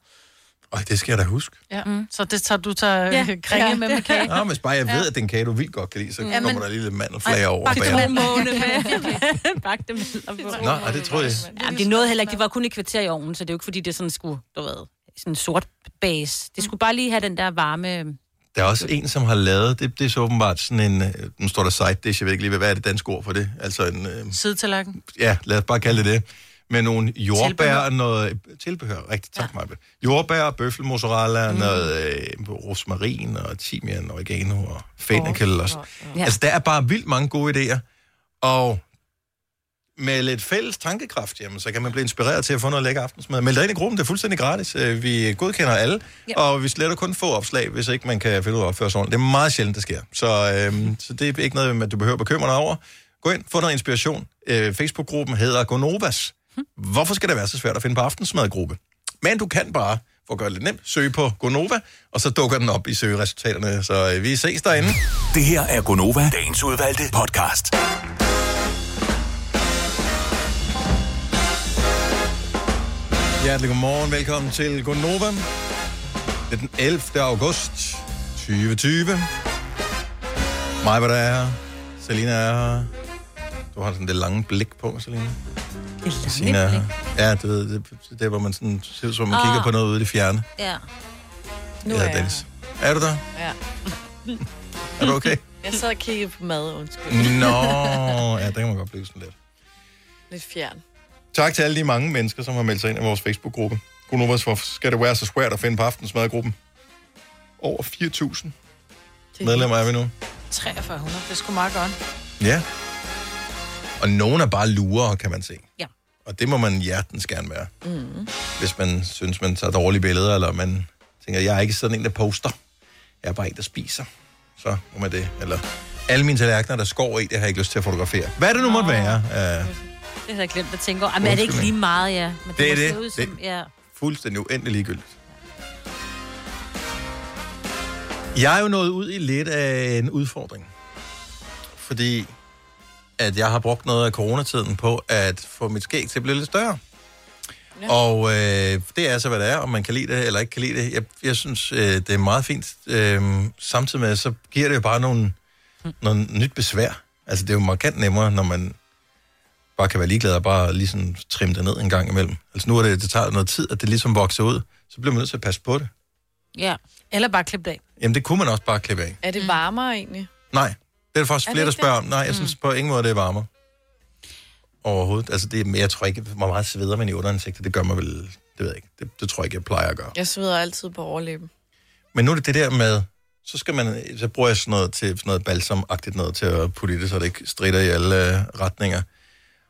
Speaker 1: Øj, det skal jeg da huske.
Speaker 3: Ja. Mm. Så det tager, du tager
Speaker 4: Ja.
Speaker 3: ja. kringe
Speaker 4: Ja.
Speaker 3: med med kage.
Speaker 1: Nå, men hvis bare jeg ved, at den kage, du vildt godt kan lide, så
Speaker 3: Ja,
Speaker 1: kommer
Speaker 3: men-
Speaker 1: der lige lidt mandelflager over.
Speaker 4: Bagte
Speaker 1: bager.
Speaker 4: måne med. bagte mandler på.
Speaker 1: Nå, ej, det troede jeg.
Speaker 4: Jamen, de nåede heller ikke. De var kun et kvarter i ovnen, så det er jo ikke, fordi det sådan skulle, du ved, sådan en sort base. Det skulle bare lige have den der varme...
Speaker 1: Der er også en, som har lavet, det, det er så åbenbart sådan en, øh, nu står der side dish, jeg ved ikke lige, hvad- hvad er det danske ord for det? Altså en, øh,
Speaker 3: Sidetallerken.
Speaker 1: ja, lad os bare kalde det det, med nogle jordbær
Speaker 3: Tilbehør.
Speaker 1: og noget, tilbehør, rigtigt, tak ja. Maja. Jordbær, bøffelmozzarella, mm. noget øh, rosmarin og timian, oregano og fennikel. Og, og,
Speaker 6: Ja.
Speaker 1: Altså, der er bare vildt mange gode idéer, og med lidt fælles tankekraft, jamen, så kan man blive inspireret til at få noget lækker aftensmad. Meld dig ind i gruppen, det er fuldstændig gratis. Øh, Vi godkender alle,
Speaker 6: Ja.
Speaker 1: ja. og vi sletter kun få opslag, hvis ikke man kan finde ud af at opføre sig ordentligt. Det er meget sjældent, det sker. Så, øh, så det er ikke noget, man- du behøver at bekymre dig over. Gå ind, få noget inspiration. Øh, Facebook-gruppen hedder Gonovas. Hvorfor skal det være så svært at finde på aftensmadgruppe? Men du kan bare, for at gøre det lidt nemt, søge på Gonova, og så dukker den op i søgeresultaterne. Så øh, vi ses derinde.
Speaker 6: Det her er Gonova, dagens udvalgte podcast.
Speaker 1: Hjertelig godmorgen. Velkommen til Gonova. Det er den 11. august 2020. Mig, hvad der er her. Selina er her. Du har sådan det lange blik på, Selina.
Speaker 4: Det
Speaker 1: Sina er her. Ja, du ved, det, det er, hvor man sådan ser ud, som om man
Speaker 4: Ah.
Speaker 1: kigger på noget ude i det fjerne.
Speaker 4: Ja.
Speaker 2: Nu
Speaker 1: Eller
Speaker 2: er jeg
Speaker 1: Dennis. Er du der?
Speaker 2: Ja.
Speaker 1: Er du okay?
Speaker 2: Jeg sad og kiggede på mad, undskyld.
Speaker 1: Nå, ja, det kan man godt blive sådan lidt.
Speaker 2: Lidt fjern.
Speaker 1: Tak til alle de mange mennesker, som har meldt sig ind i vores Facebook-gruppe. Godnovas, hvorfor skal det være så svært at finde på aftensmadgruppen? Over 4.000 medlemmer er vi nu.
Speaker 3: 4300, det er sgu meget godt.
Speaker 1: Ja. Og nogen er bare lurere, kan man se.
Speaker 4: Ja.
Speaker 1: Og det må man hjertens gerne være.
Speaker 4: Mm.
Speaker 1: Hvis man synes, man tager dårlige billeder, eller man tænker, jeg er ikke sådan en, der poster. Jeg er bare en, der spiser. Så må man det. Eller alle mine tallerkener, der skår i, det har jeg ikke lyst til at fotografere. Hvad er det nu måtte være? Uh,
Speaker 4: Det har jeg glemt at tænke over. Ej, Men er det ikke lige
Speaker 1: Undskyldning.
Speaker 4: meget, ja? Men
Speaker 1: Det er
Speaker 4: må se
Speaker 1: det.
Speaker 4: ud som-
Speaker 1: Det-
Speaker 4: Ja.
Speaker 1: fuldstændig uendelig ligegyldigt. Jeg er jo nået ud i lidt af en udfordring. Fordi at jeg har brugt noget af coronatiden på at få mit skæg til at blive lidt større. Ja. Og øh, det er altså, hvad det er, om man kan lide det eller ikke kan lide det. Jeg, jeg synes, øh, det er meget fint. Øh, samtidig med, så giver det jo bare nogle, mm. noget nyt besvær. Altså, det er jo markant nemmere, når man bare kan være ligeglad og bare lige sådan trimme det ned en gang imellem. Altså, nu er det, det tager noget tid, at det ligesom vokser ud. Så bliver man nødt til at passe på det.
Speaker 3: Ja. Eller bare klippe det af. Mm.
Speaker 1: Jamen, det kunne man også bare klippe af.
Speaker 2: Er det varmere egentlig?
Speaker 1: Nej, det er der faktisk
Speaker 2: Er det Mm. ikke
Speaker 1: flere, der spørger om.
Speaker 2: det?
Speaker 1: Nej, jeg synes på ingen måde, det er varmere. Overhovedet. Altså, det, er- men jeg tror ikke, hvor meget sveder man i underansigtet. Det gør mig vel, det ved jeg ikke. Det, det tror jeg ikke, jeg plejer at gøre.
Speaker 2: Jeg sveder altid på overlæben.
Speaker 1: Men nu er det det der med, så, skal man, så bruger jeg sådan noget, til, sådan noget balsamagtigt noget til at putte i det, så det ikke strider i alle øh, retninger.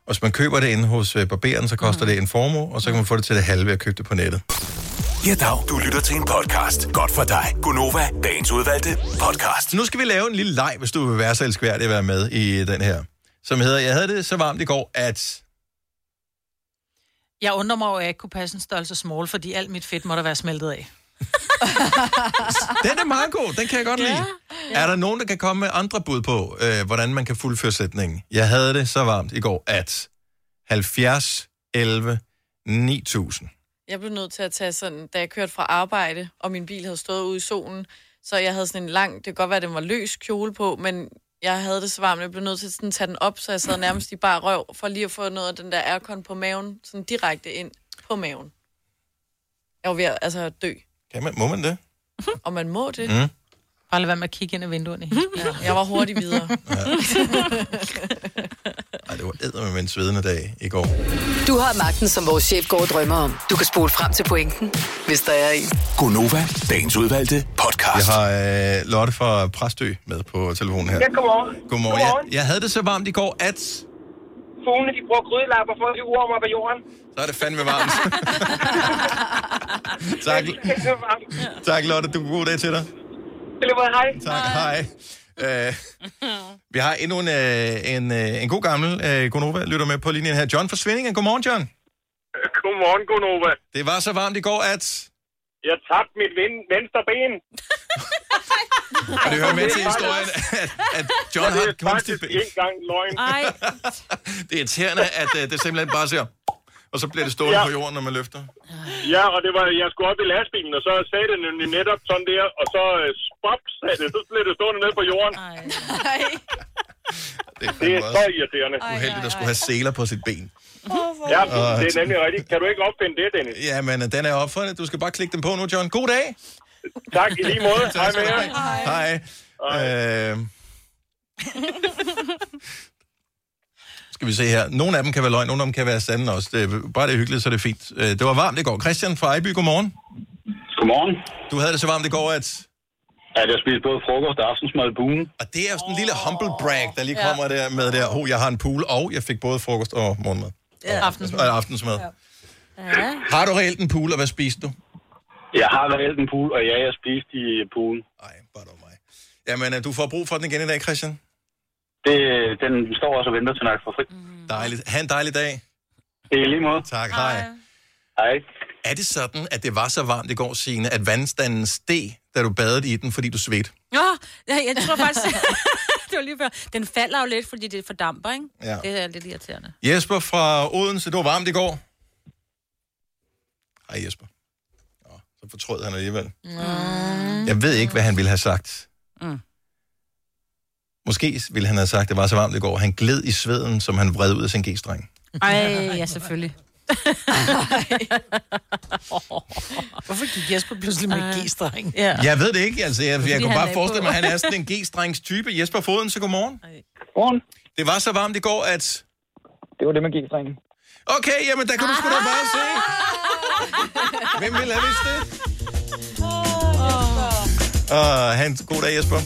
Speaker 1: Og hvis man køber det inde hos øh, barberen, så koster mm. det en formue, og så kan man få det til det halve at købe det på nettet.
Speaker 6: Ja, dag. Du lytter til en podcast. Godt for dig. Gunova, dagens udvalgte podcast.
Speaker 1: Nu skal vi lave en lille leg, hvis du vil være så elskværdig at være med i den her. Som hedder, jeg havde det så varmt i går, at...
Speaker 3: Jeg undrer mig over, at jeg ikke kunne passe en størrelse small, fordi alt mit fedt må der være smeltet af.
Speaker 1: Den er meget god, den kan jeg godt lide. Ja. Er der nogen, der kan komme med andre bud på, øh, hvordan man kan fuldføre sætningen? Jeg havde det så varmt i går, at 70, 11, 9000.
Speaker 2: Jeg blev nødt til at tage sådan, da jeg kørte fra arbejde, og min bil havde stået ude i solen, så jeg havde sådan en lang, det kan godt være, at den var løs kjole på, men jeg havde det så varmt, jeg blev nødt til sådan at tage den op, så jeg sad nærmest i bare røv, for lige at få noget af den der aircon på maven, sådan direkte ind på maven. Jeg var ved at, altså, at dø.
Speaker 1: Kan man, må man det?
Speaker 2: Og man må det.
Speaker 1: Mm.
Speaker 3: Bare lad være med at kigge ind ad vinduerne.
Speaker 2: Ja, jeg var hurtig videre.
Speaker 1: Ej, det var eddermame en svedende dag i går.
Speaker 5: Du har magten, som vores chef går og drømmer om. Du kan spole frem til pointen, hvis der er en.
Speaker 6: Gunova, dagens udvalgte podcast.
Speaker 1: Jeg har øh, Lotte fra Præstø med på telefonen her.
Speaker 6: Ja,
Speaker 21: godmorgen.
Speaker 1: Godmorgen.
Speaker 21: Godmorgen.
Speaker 1: Jeg, jeg havde det så varmt i går, at...
Speaker 21: Fuglene, de bruger grydelapper for at de uormer på jorden.
Speaker 1: Så er det fandme varmt. tak,
Speaker 21: Det var varmt.
Speaker 1: tak Lotte. Du god dag til dig.
Speaker 21: Det var hej.
Speaker 1: Tak, hej. Øh, vi har endnu en, øh, en, øh, en god gammel øh, Gonova, lytter med på linjen her. John fra Svindingen. Godmorgen, John.
Speaker 21: Godmorgen, Gunova.
Speaker 1: Det var så varmt i går, at...
Speaker 21: Jeg tabte mit ven- venstre ben.
Speaker 1: Og det hører med til historien, at, at John har et kunstigt ben.
Speaker 21: Ikke engang løgn.
Speaker 4: Ej.
Speaker 1: Det er irriterende, at øh, det simpelthen bare ser... Og så bliver det stående
Speaker 21: Ja.
Speaker 1: ja. på jorden, når man løfter.
Speaker 21: Ja, og det var, jeg skulle op i lastbilen, og så sagde den nemlig netop sådan der, og så øh, spop sagde det, så blev det stående ned på jorden.
Speaker 1: Det er,
Speaker 21: Det
Speaker 1: fandme
Speaker 21: er
Speaker 1: også
Speaker 21: så irriterende.
Speaker 1: uheldigt at skulle have seler på sit ben.
Speaker 21: Ja,
Speaker 1: Åh,
Speaker 21: det er nemlig rigtigt. Kan du ikke opfinde det, Dennis?
Speaker 1: Ja, men øh, den er opfundet. Du skal bare klikke den på nu, John. God dag.
Speaker 21: Tak, i lige måde. Hej med jer.
Speaker 1: Hej. Hej. Øh, skal vi se her. Nogle af dem kan være løgn, nogle af dem kan være sande også. Det, er- bare det er hyggeligt, så er det fint. Øh, det var varmt i går. Christian fra Ejby, godmorgen.
Speaker 22: Godmorgen.
Speaker 1: Du havde det så varmt i går, at...
Speaker 22: At jeg spiste både frokost og aftensmad i bugen.
Speaker 1: Og det er jo sådan en lille humble brag, der lige kommer der med der, oh, jeg har en pool, og jeg fik både frokost og morgenmad.
Speaker 3: Ja. Aftensmad.
Speaker 1: Og aftensmad. Ja. Har du reelt en pool, og hvad spiste du?
Speaker 22: Jeg har været en pool, og ja, jeg spiste i poolen.
Speaker 1: Jamen, øh, du får brug for den igen i dag, Christian.
Speaker 22: Det, den står også og venter til nok for frit.
Speaker 1: Dejligt. Ha' en dejlig dag.
Speaker 22: Det er i lige måde.
Speaker 1: Tak, hej.
Speaker 22: Hej.
Speaker 1: Er det sådan, at det var så varmt i går, Signe, at vandstanden steg, da du badede i den, fordi du svedte?
Speaker 4: Nå, ja, jeg tror faktisk... det var lige før. Den falder jo lidt, fordi det fordamper, ikke?
Speaker 1: Ja.
Speaker 4: Det er lidt irriterende.
Speaker 1: Jesper fra Odense, det var varmt i går. Hej Jesper. Nå, så fortrød han alligevel. Mm. Jeg ved ikke, hvad han ville have sagt.
Speaker 4: Mm.
Speaker 1: Måske ville han have sagt, at det var så varmt i går. Han gled i sveden, som han vred ud af sin g-streng.
Speaker 4: Ej, ja, selvfølgelig.
Speaker 3: Hvorfor gik Jesper pludselig med g-streng?
Speaker 1: Ja. Jeg ved det ikke, altså. Jeg,
Speaker 3: Fordi
Speaker 1: jeg kunne
Speaker 3: han
Speaker 1: bare
Speaker 3: lagde
Speaker 1: forestille mig,
Speaker 3: på.
Speaker 1: at han er sådan en g-strengs type. Jesper Foden, så godmorgen.
Speaker 22: Godmorgen.
Speaker 1: Det var så varmt i går, at...
Speaker 22: Det var det med g-strengen.
Speaker 1: Okay, jamen der kan du sgu da bare se. Hvem ville have vidst det? Og han, god dag, Jesper.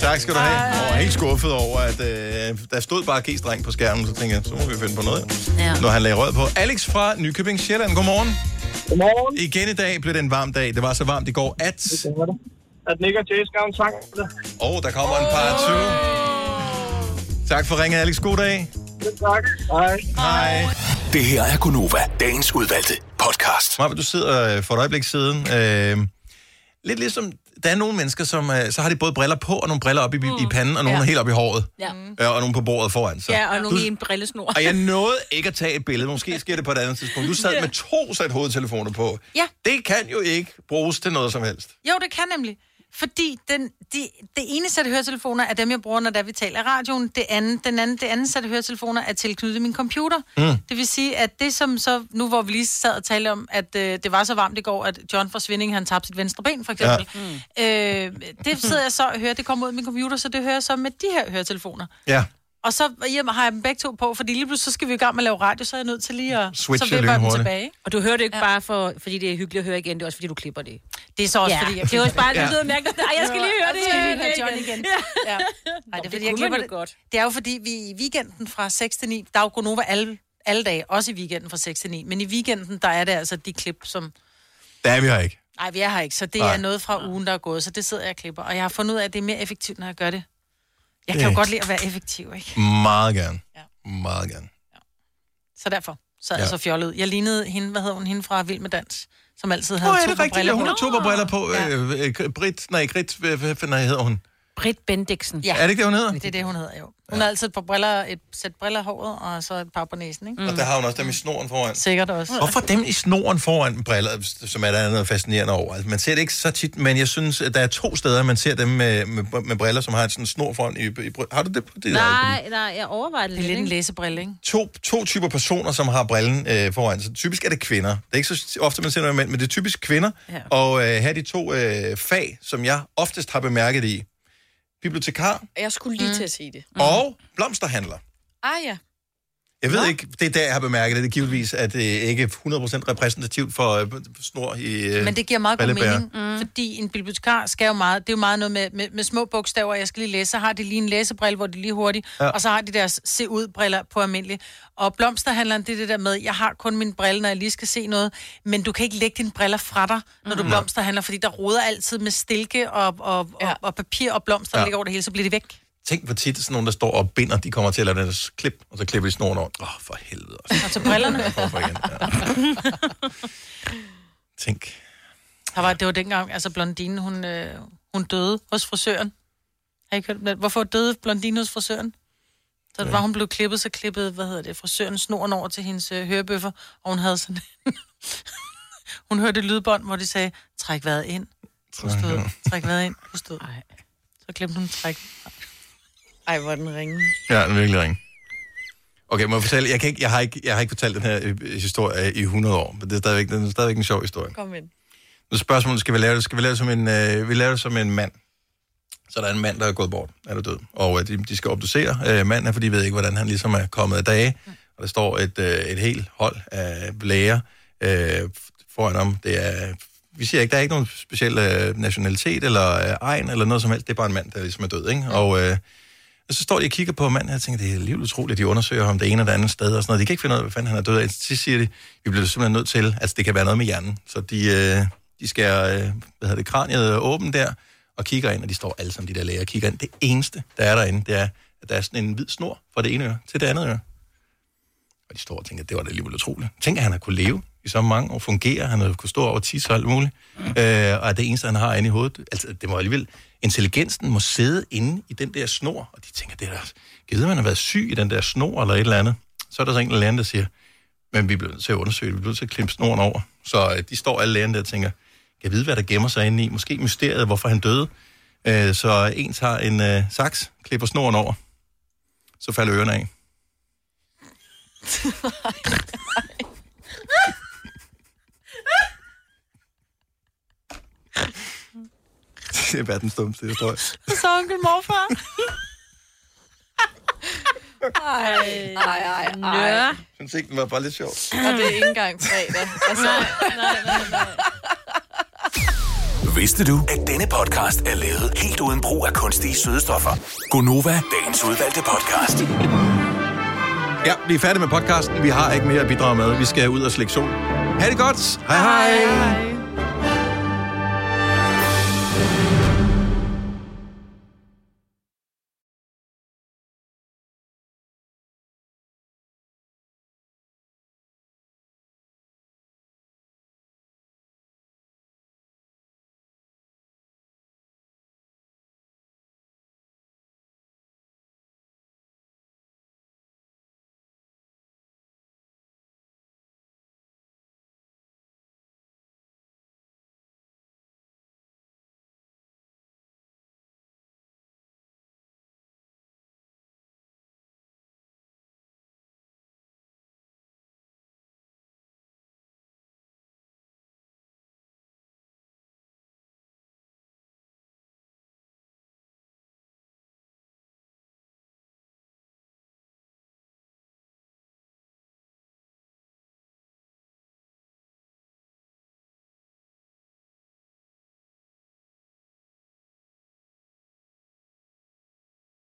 Speaker 1: Tak skal du have. Jeg var helt skuffet over, at øh, der stod bare g-streng på skærmen, så tænkte jeg, så må vi finde på noget.
Speaker 4: Ja.
Speaker 1: Når han lagde rød på. Alex fra Nykøbing Sjælland, godmorgen.
Speaker 22: Godmorgen.
Speaker 1: Igen i dag blev det en varm dag. Det var så varmt i går, at...
Speaker 22: At Nick og Jay skrev en sang.
Speaker 1: Åh, oh, der kommer en par 20. Tak for ringen, Alex. God dag.
Speaker 22: Tak. Hej.
Speaker 1: Hej.
Speaker 6: Det her er Gunova, dagens udvalgte podcast.
Speaker 1: Marve, du sidder øh, for et øjeblik siden. Øh, lidt ligesom der er nogle mennesker, som øh, så har de både briller på, og nogle briller op i, mm. i panden, og nogle
Speaker 4: Ja. Mm.
Speaker 1: ja. helt op i håret.
Speaker 4: Ja.
Speaker 3: Mm.
Speaker 1: Ja, og nogle på bordet foran. Så.
Speaker 4: Ja, og nogle
Speaker 1: du,
Speaker 4: i en brillesnor.
Speaker 1: og jeg nåede ikke at tage et billede. Måske sker det på et andet tidspunkt. Du sad med to sæt hovedtelefoner på.
Speaker 3: Ja.
Speaker 1: Det kan jo ikke bruges til noget som helst.
Speaker 3: Jo, det kan nemlig. Fordi den, de, det ene sæt høretelefoner er dem, jeg bruger, når der vi taler i radioen. Det andet, den anden, det andet sæt høretelefoner er tilknyttet min computer.
Speaker 7: Mm.
Speaker 3: Det vil sige, at det som så, nu hvor vi lige sad og talte om, at øh, det var så varmt i går, at John fra Svinding, han tabte sit venstre ben, for eksempel. Ja. Øh, det sidder jeg så og hører, det kommer ud af min computer, så det hører jeg så med de her høretelefoner.
Speaker 1: Ja.
Speaker 3: Og så hjem har jeg dem begge to på, fordi lige pludselig så skal vi i gang med at lave radio, så er jeg nødt til lige at...
Speaker 1: Switche
Speaker 3: så vipper jeg dem
Speaker 1: lynhurtigt.
Speaker 3: tilbage.
Speaker 4: Og du hører det ikke ja. bare, for, fordi det er hyggeligt at høre igen, det er også fordi, du klipper det.
Speaker 3: Det er så også,
Speaker 4: ja.
Speaker 3: fordi jeg
Speaker 4: Det er også
Speaker 3: klipper
Speaker 4: bare,
Speaker 3: det.
Speaker 4: det lyder
Speaker 3: Ja.
Speaker 4: mærkeligt. Ej, jeg skal lige høre det.
Speaker 3: Jeg skal lige høre
Speaker 4: igen.
Speaker 3: John igen.
Speaker 4: Ja.
Speaker 3: Nej, det er
Speaker 4: det
Speaker 3: fordi, jeg
Speaker 4: kunne
Speaker 3: klipper
Speaker 4: man jo
Speaker 3: det. Godt. Det er jo fordi, vi i weekenden fra 6 til 9, der er jo Gonova alle, alle dage, også i weekenden fra 6 til 9, men i weekenden, der er det altså de klip, som...
Speaker 1: Der er vi her ikke.
Speaker 3: Nej, vi er her ikke, så det
Speaker 1: Nej.
Speaker 3: er noget fra ugen, der er gået, så det sidder jeg og klipper. Og jeg har fundet ud af, at det er mere effektivt, når jeg gør det. Jeg kan
Speaker 1: Det-
Speaker 3: jo godt lide at være effektiv, ikke?
Speaker 1: Meget gerne. Ja. Meget gerne.
Speaker 3: Så derfor sad
Speaker 1: Ja.
Speaker 3: jeg så fjollet. ud. Jeg lignede hende, hvad hedder hun, hende fra Vild med Dans, som altid
Speaker 1: Nå,
Speaker 3: havde
Speaker 1: er
Speaker 3: to
Speaker 1: det
Speaker 3: par
Speaker 1: rigtigt? Ja,
Speaker 3: briller
Speaker 1: hun har
Speaker 3: på.
Speaker 1: to par briller på.
Speaker 3: Ja.
Speaker 1: Øh, øh, Britt, nej, Grit, hvad, hvad, hvad nej, hedder hun?
Speaker 4: Britt Bendiksen.
Speaker 3: Ja.
Speaker 1: Er det ikke det, hun hedder?
Speaker 3: Det er det, hun hedder, jo. Hun har altid et par briller, et sæt briller i håret, og så et par på næsen, ikke?
Speaker 1: Mm. Og der har hun også dem i snoren foran.
Speaker 3: Sikkert også.
Speaker 1: Hvorfor dem i snoren foran briller, som er der noget fascinerende over? Altså, man ser det ikke så tit, men jeg synes, at der er to steder, man ser dem med, med, med briller, som har sådan en snor foran i, i bry- Har du det på dit øjeblik?
Speaker 4: Nej, nej, jeg overvejer det,
Speaker 3: Det er lidt en læsebrille, ikke?
Speaker 1: To, to typer personer, som har brillen øh, foran. Så typisk er det kvinder. Det er ikke så ofte, man ser noget mænd, men det er typisk kvinder.
Speaker 3: Ja.
Speaker 1: Og øh, her er de to øh, fag, som jeg oftest har bemærket i. Bibliotekar
Speaker 2: Jeg skulle lige til at sige det.
Speaker 1: mm. og blomsterhandler.
Speaker 2: Ah ja.
Speaker 1: Jeg ved ikke, det er der, jeg har bemærket det. Det er givetvis, at det ikke er 100% repræsentativt for øh, snor i øh,
Speaker 3: Men det giver meget god
Speaker 1: brillebærer.
Speaker 3: mening, mm. fordi en bibliotekar skal jo meget, det er jo meget noget med, med, med små bogstaver, jeg skal lige læse, så har de lige en læsebrille, hvor de lige hurtigt, ja.
Speaker 1: Ja.
Speaker 3: og så har de deres se ud briller på almindelig. Og blomsterhandleren, det er det der med, jeg har kun min brille, når jeg lige skal se noget, men du kan ikke lægge dine briller fra dig, når du
Speaker 1: Mm.
Speaker 3: blomsterhandler, fordi der roder altid med stilke og, og, ja. og, og papir og blomster, der
Speaker 1: Ja.
Speaker 3: ligger over det hele, så bliver de væk.
Speaker 1: Tænk, hvor tit sådan nogen, der står og binder, de kommer til at lade deres klip, og så klipper de snoren over. Åh, oh, for helvede.
Speaker 3: Og til brillerne.
Speaker 1: Tænk.
Speaker 3: Der var, det var dengang, altså blondinen, hun, øh, hun døde hos frisøren. Har I ikke hørt om det? Hvorfor døde blondinen hos frisøren? Så var hun blev klippet, så klippede, hvad hedder det, frisøren snoren over til hendes øh, hørebøffer, og hun havde sådan Hun hørte et lydbånd, hvor de sagde, træk vejret ind, pust
Speaker 2: Træk
Speaker 3: ud,
Speaker 2: vejret.
Speaker 3: træk vejret ind, pust ud. Så glemte hun træk.
Speaker 2: Ej, hvor er den ringe.
Speaker 1: Ja, den er virkelig ringe. Okay, må jeg fortælle? Jeg, kan ikke, jeg, har ikke, jeg har ikke fortalt den her øh, historie øh, i 100 år, men det er stadigvæk, den er stadigvæk en sjov historie.
Speaker 2: Kom ind.
Speaker 1: Nu er spørgsmålet, skal vi lave det? Skal vi lave det som en, øh, vi laver det som en mand? Så der er en mand, der er gået bort. Han er død. Og øh, de, de skal obducere øh, manden, her, for de ved ikke, hvordan han ligesom er kommet af dage. Og der står et, øh, et helt hold af læger øh, foran ham. Det er, vi siger ikke, der er ikke nogen speciel øh, nationalitet eller øh, egen eller noget som helst. Det er bare en mand, der ligesom er død. Ikke? Og øh, og så står de og kigger på manden her og tænker, det er alligevel utroligt, de undersøger ham det ene og det andet sted og sådan noget. De kan ikke finde ud af, hvad fanden han er død af. Til sidst siger de, vi bliver simpelthen nødt til, altså det kan være noget med hjernen. Så de, øh, de skærer, øh, hvad hedder det, kraniet åben der og kigger ind, og de står alle sammen, de der læger, og kigger ind. Det eneste, der er derinde, det er, at der er sådan en hvid snor fra det ene øre til det andet øre. Og de står og tænker, det var da alligevel utroligt. Tænk, at han har kunne leve i så mange år, fungere, han har kunne stå over tis og alt muligt. Øh, og at det eneste, han har inde i hovedet, altså det må alligevel, intelligensen må sidde inde i den der snor. Og de tænker, det er da, givet man har været syg i den der snor eller et eller andet. Så er der så en eller anden, der siger, men vi bliver nødt til at undersøge det, vi bliver nødt til at klippe snoren over. Så øh, de står alle lærerne der og tænker, kan jeg vide, hvad der gemmer sig inde i? Måske mysteriet, hvorfor han døde. Øh, så en tager en øh, saks, klipper snoren over, så falder ørerne af. det er verdens dummeste historie.
Speaker 3: Så onkel morfar.
Speaker 2: Ej, ej, ej,
Speaker 4: Nå.
Speaker 2: ej.
Speaker 1: Jeg synes ikke, den var bare lidt sjov.
Speaker 2: Og det er ikke engang fredag. Altså,
Speaker 6: Vidste du, at denne podcast er lavet helt uden brug af kunstige sødestoffer?
Speaker 1: Gonova.
Speaker 6: Dagens udvalgte podcast.
Speaker 1: Ja, vi er færdige med podcasten. Vi har ikke mere at bidrage med. Vi skal ud og slække sol. Ha' det godt. Hej hej. hej, hej.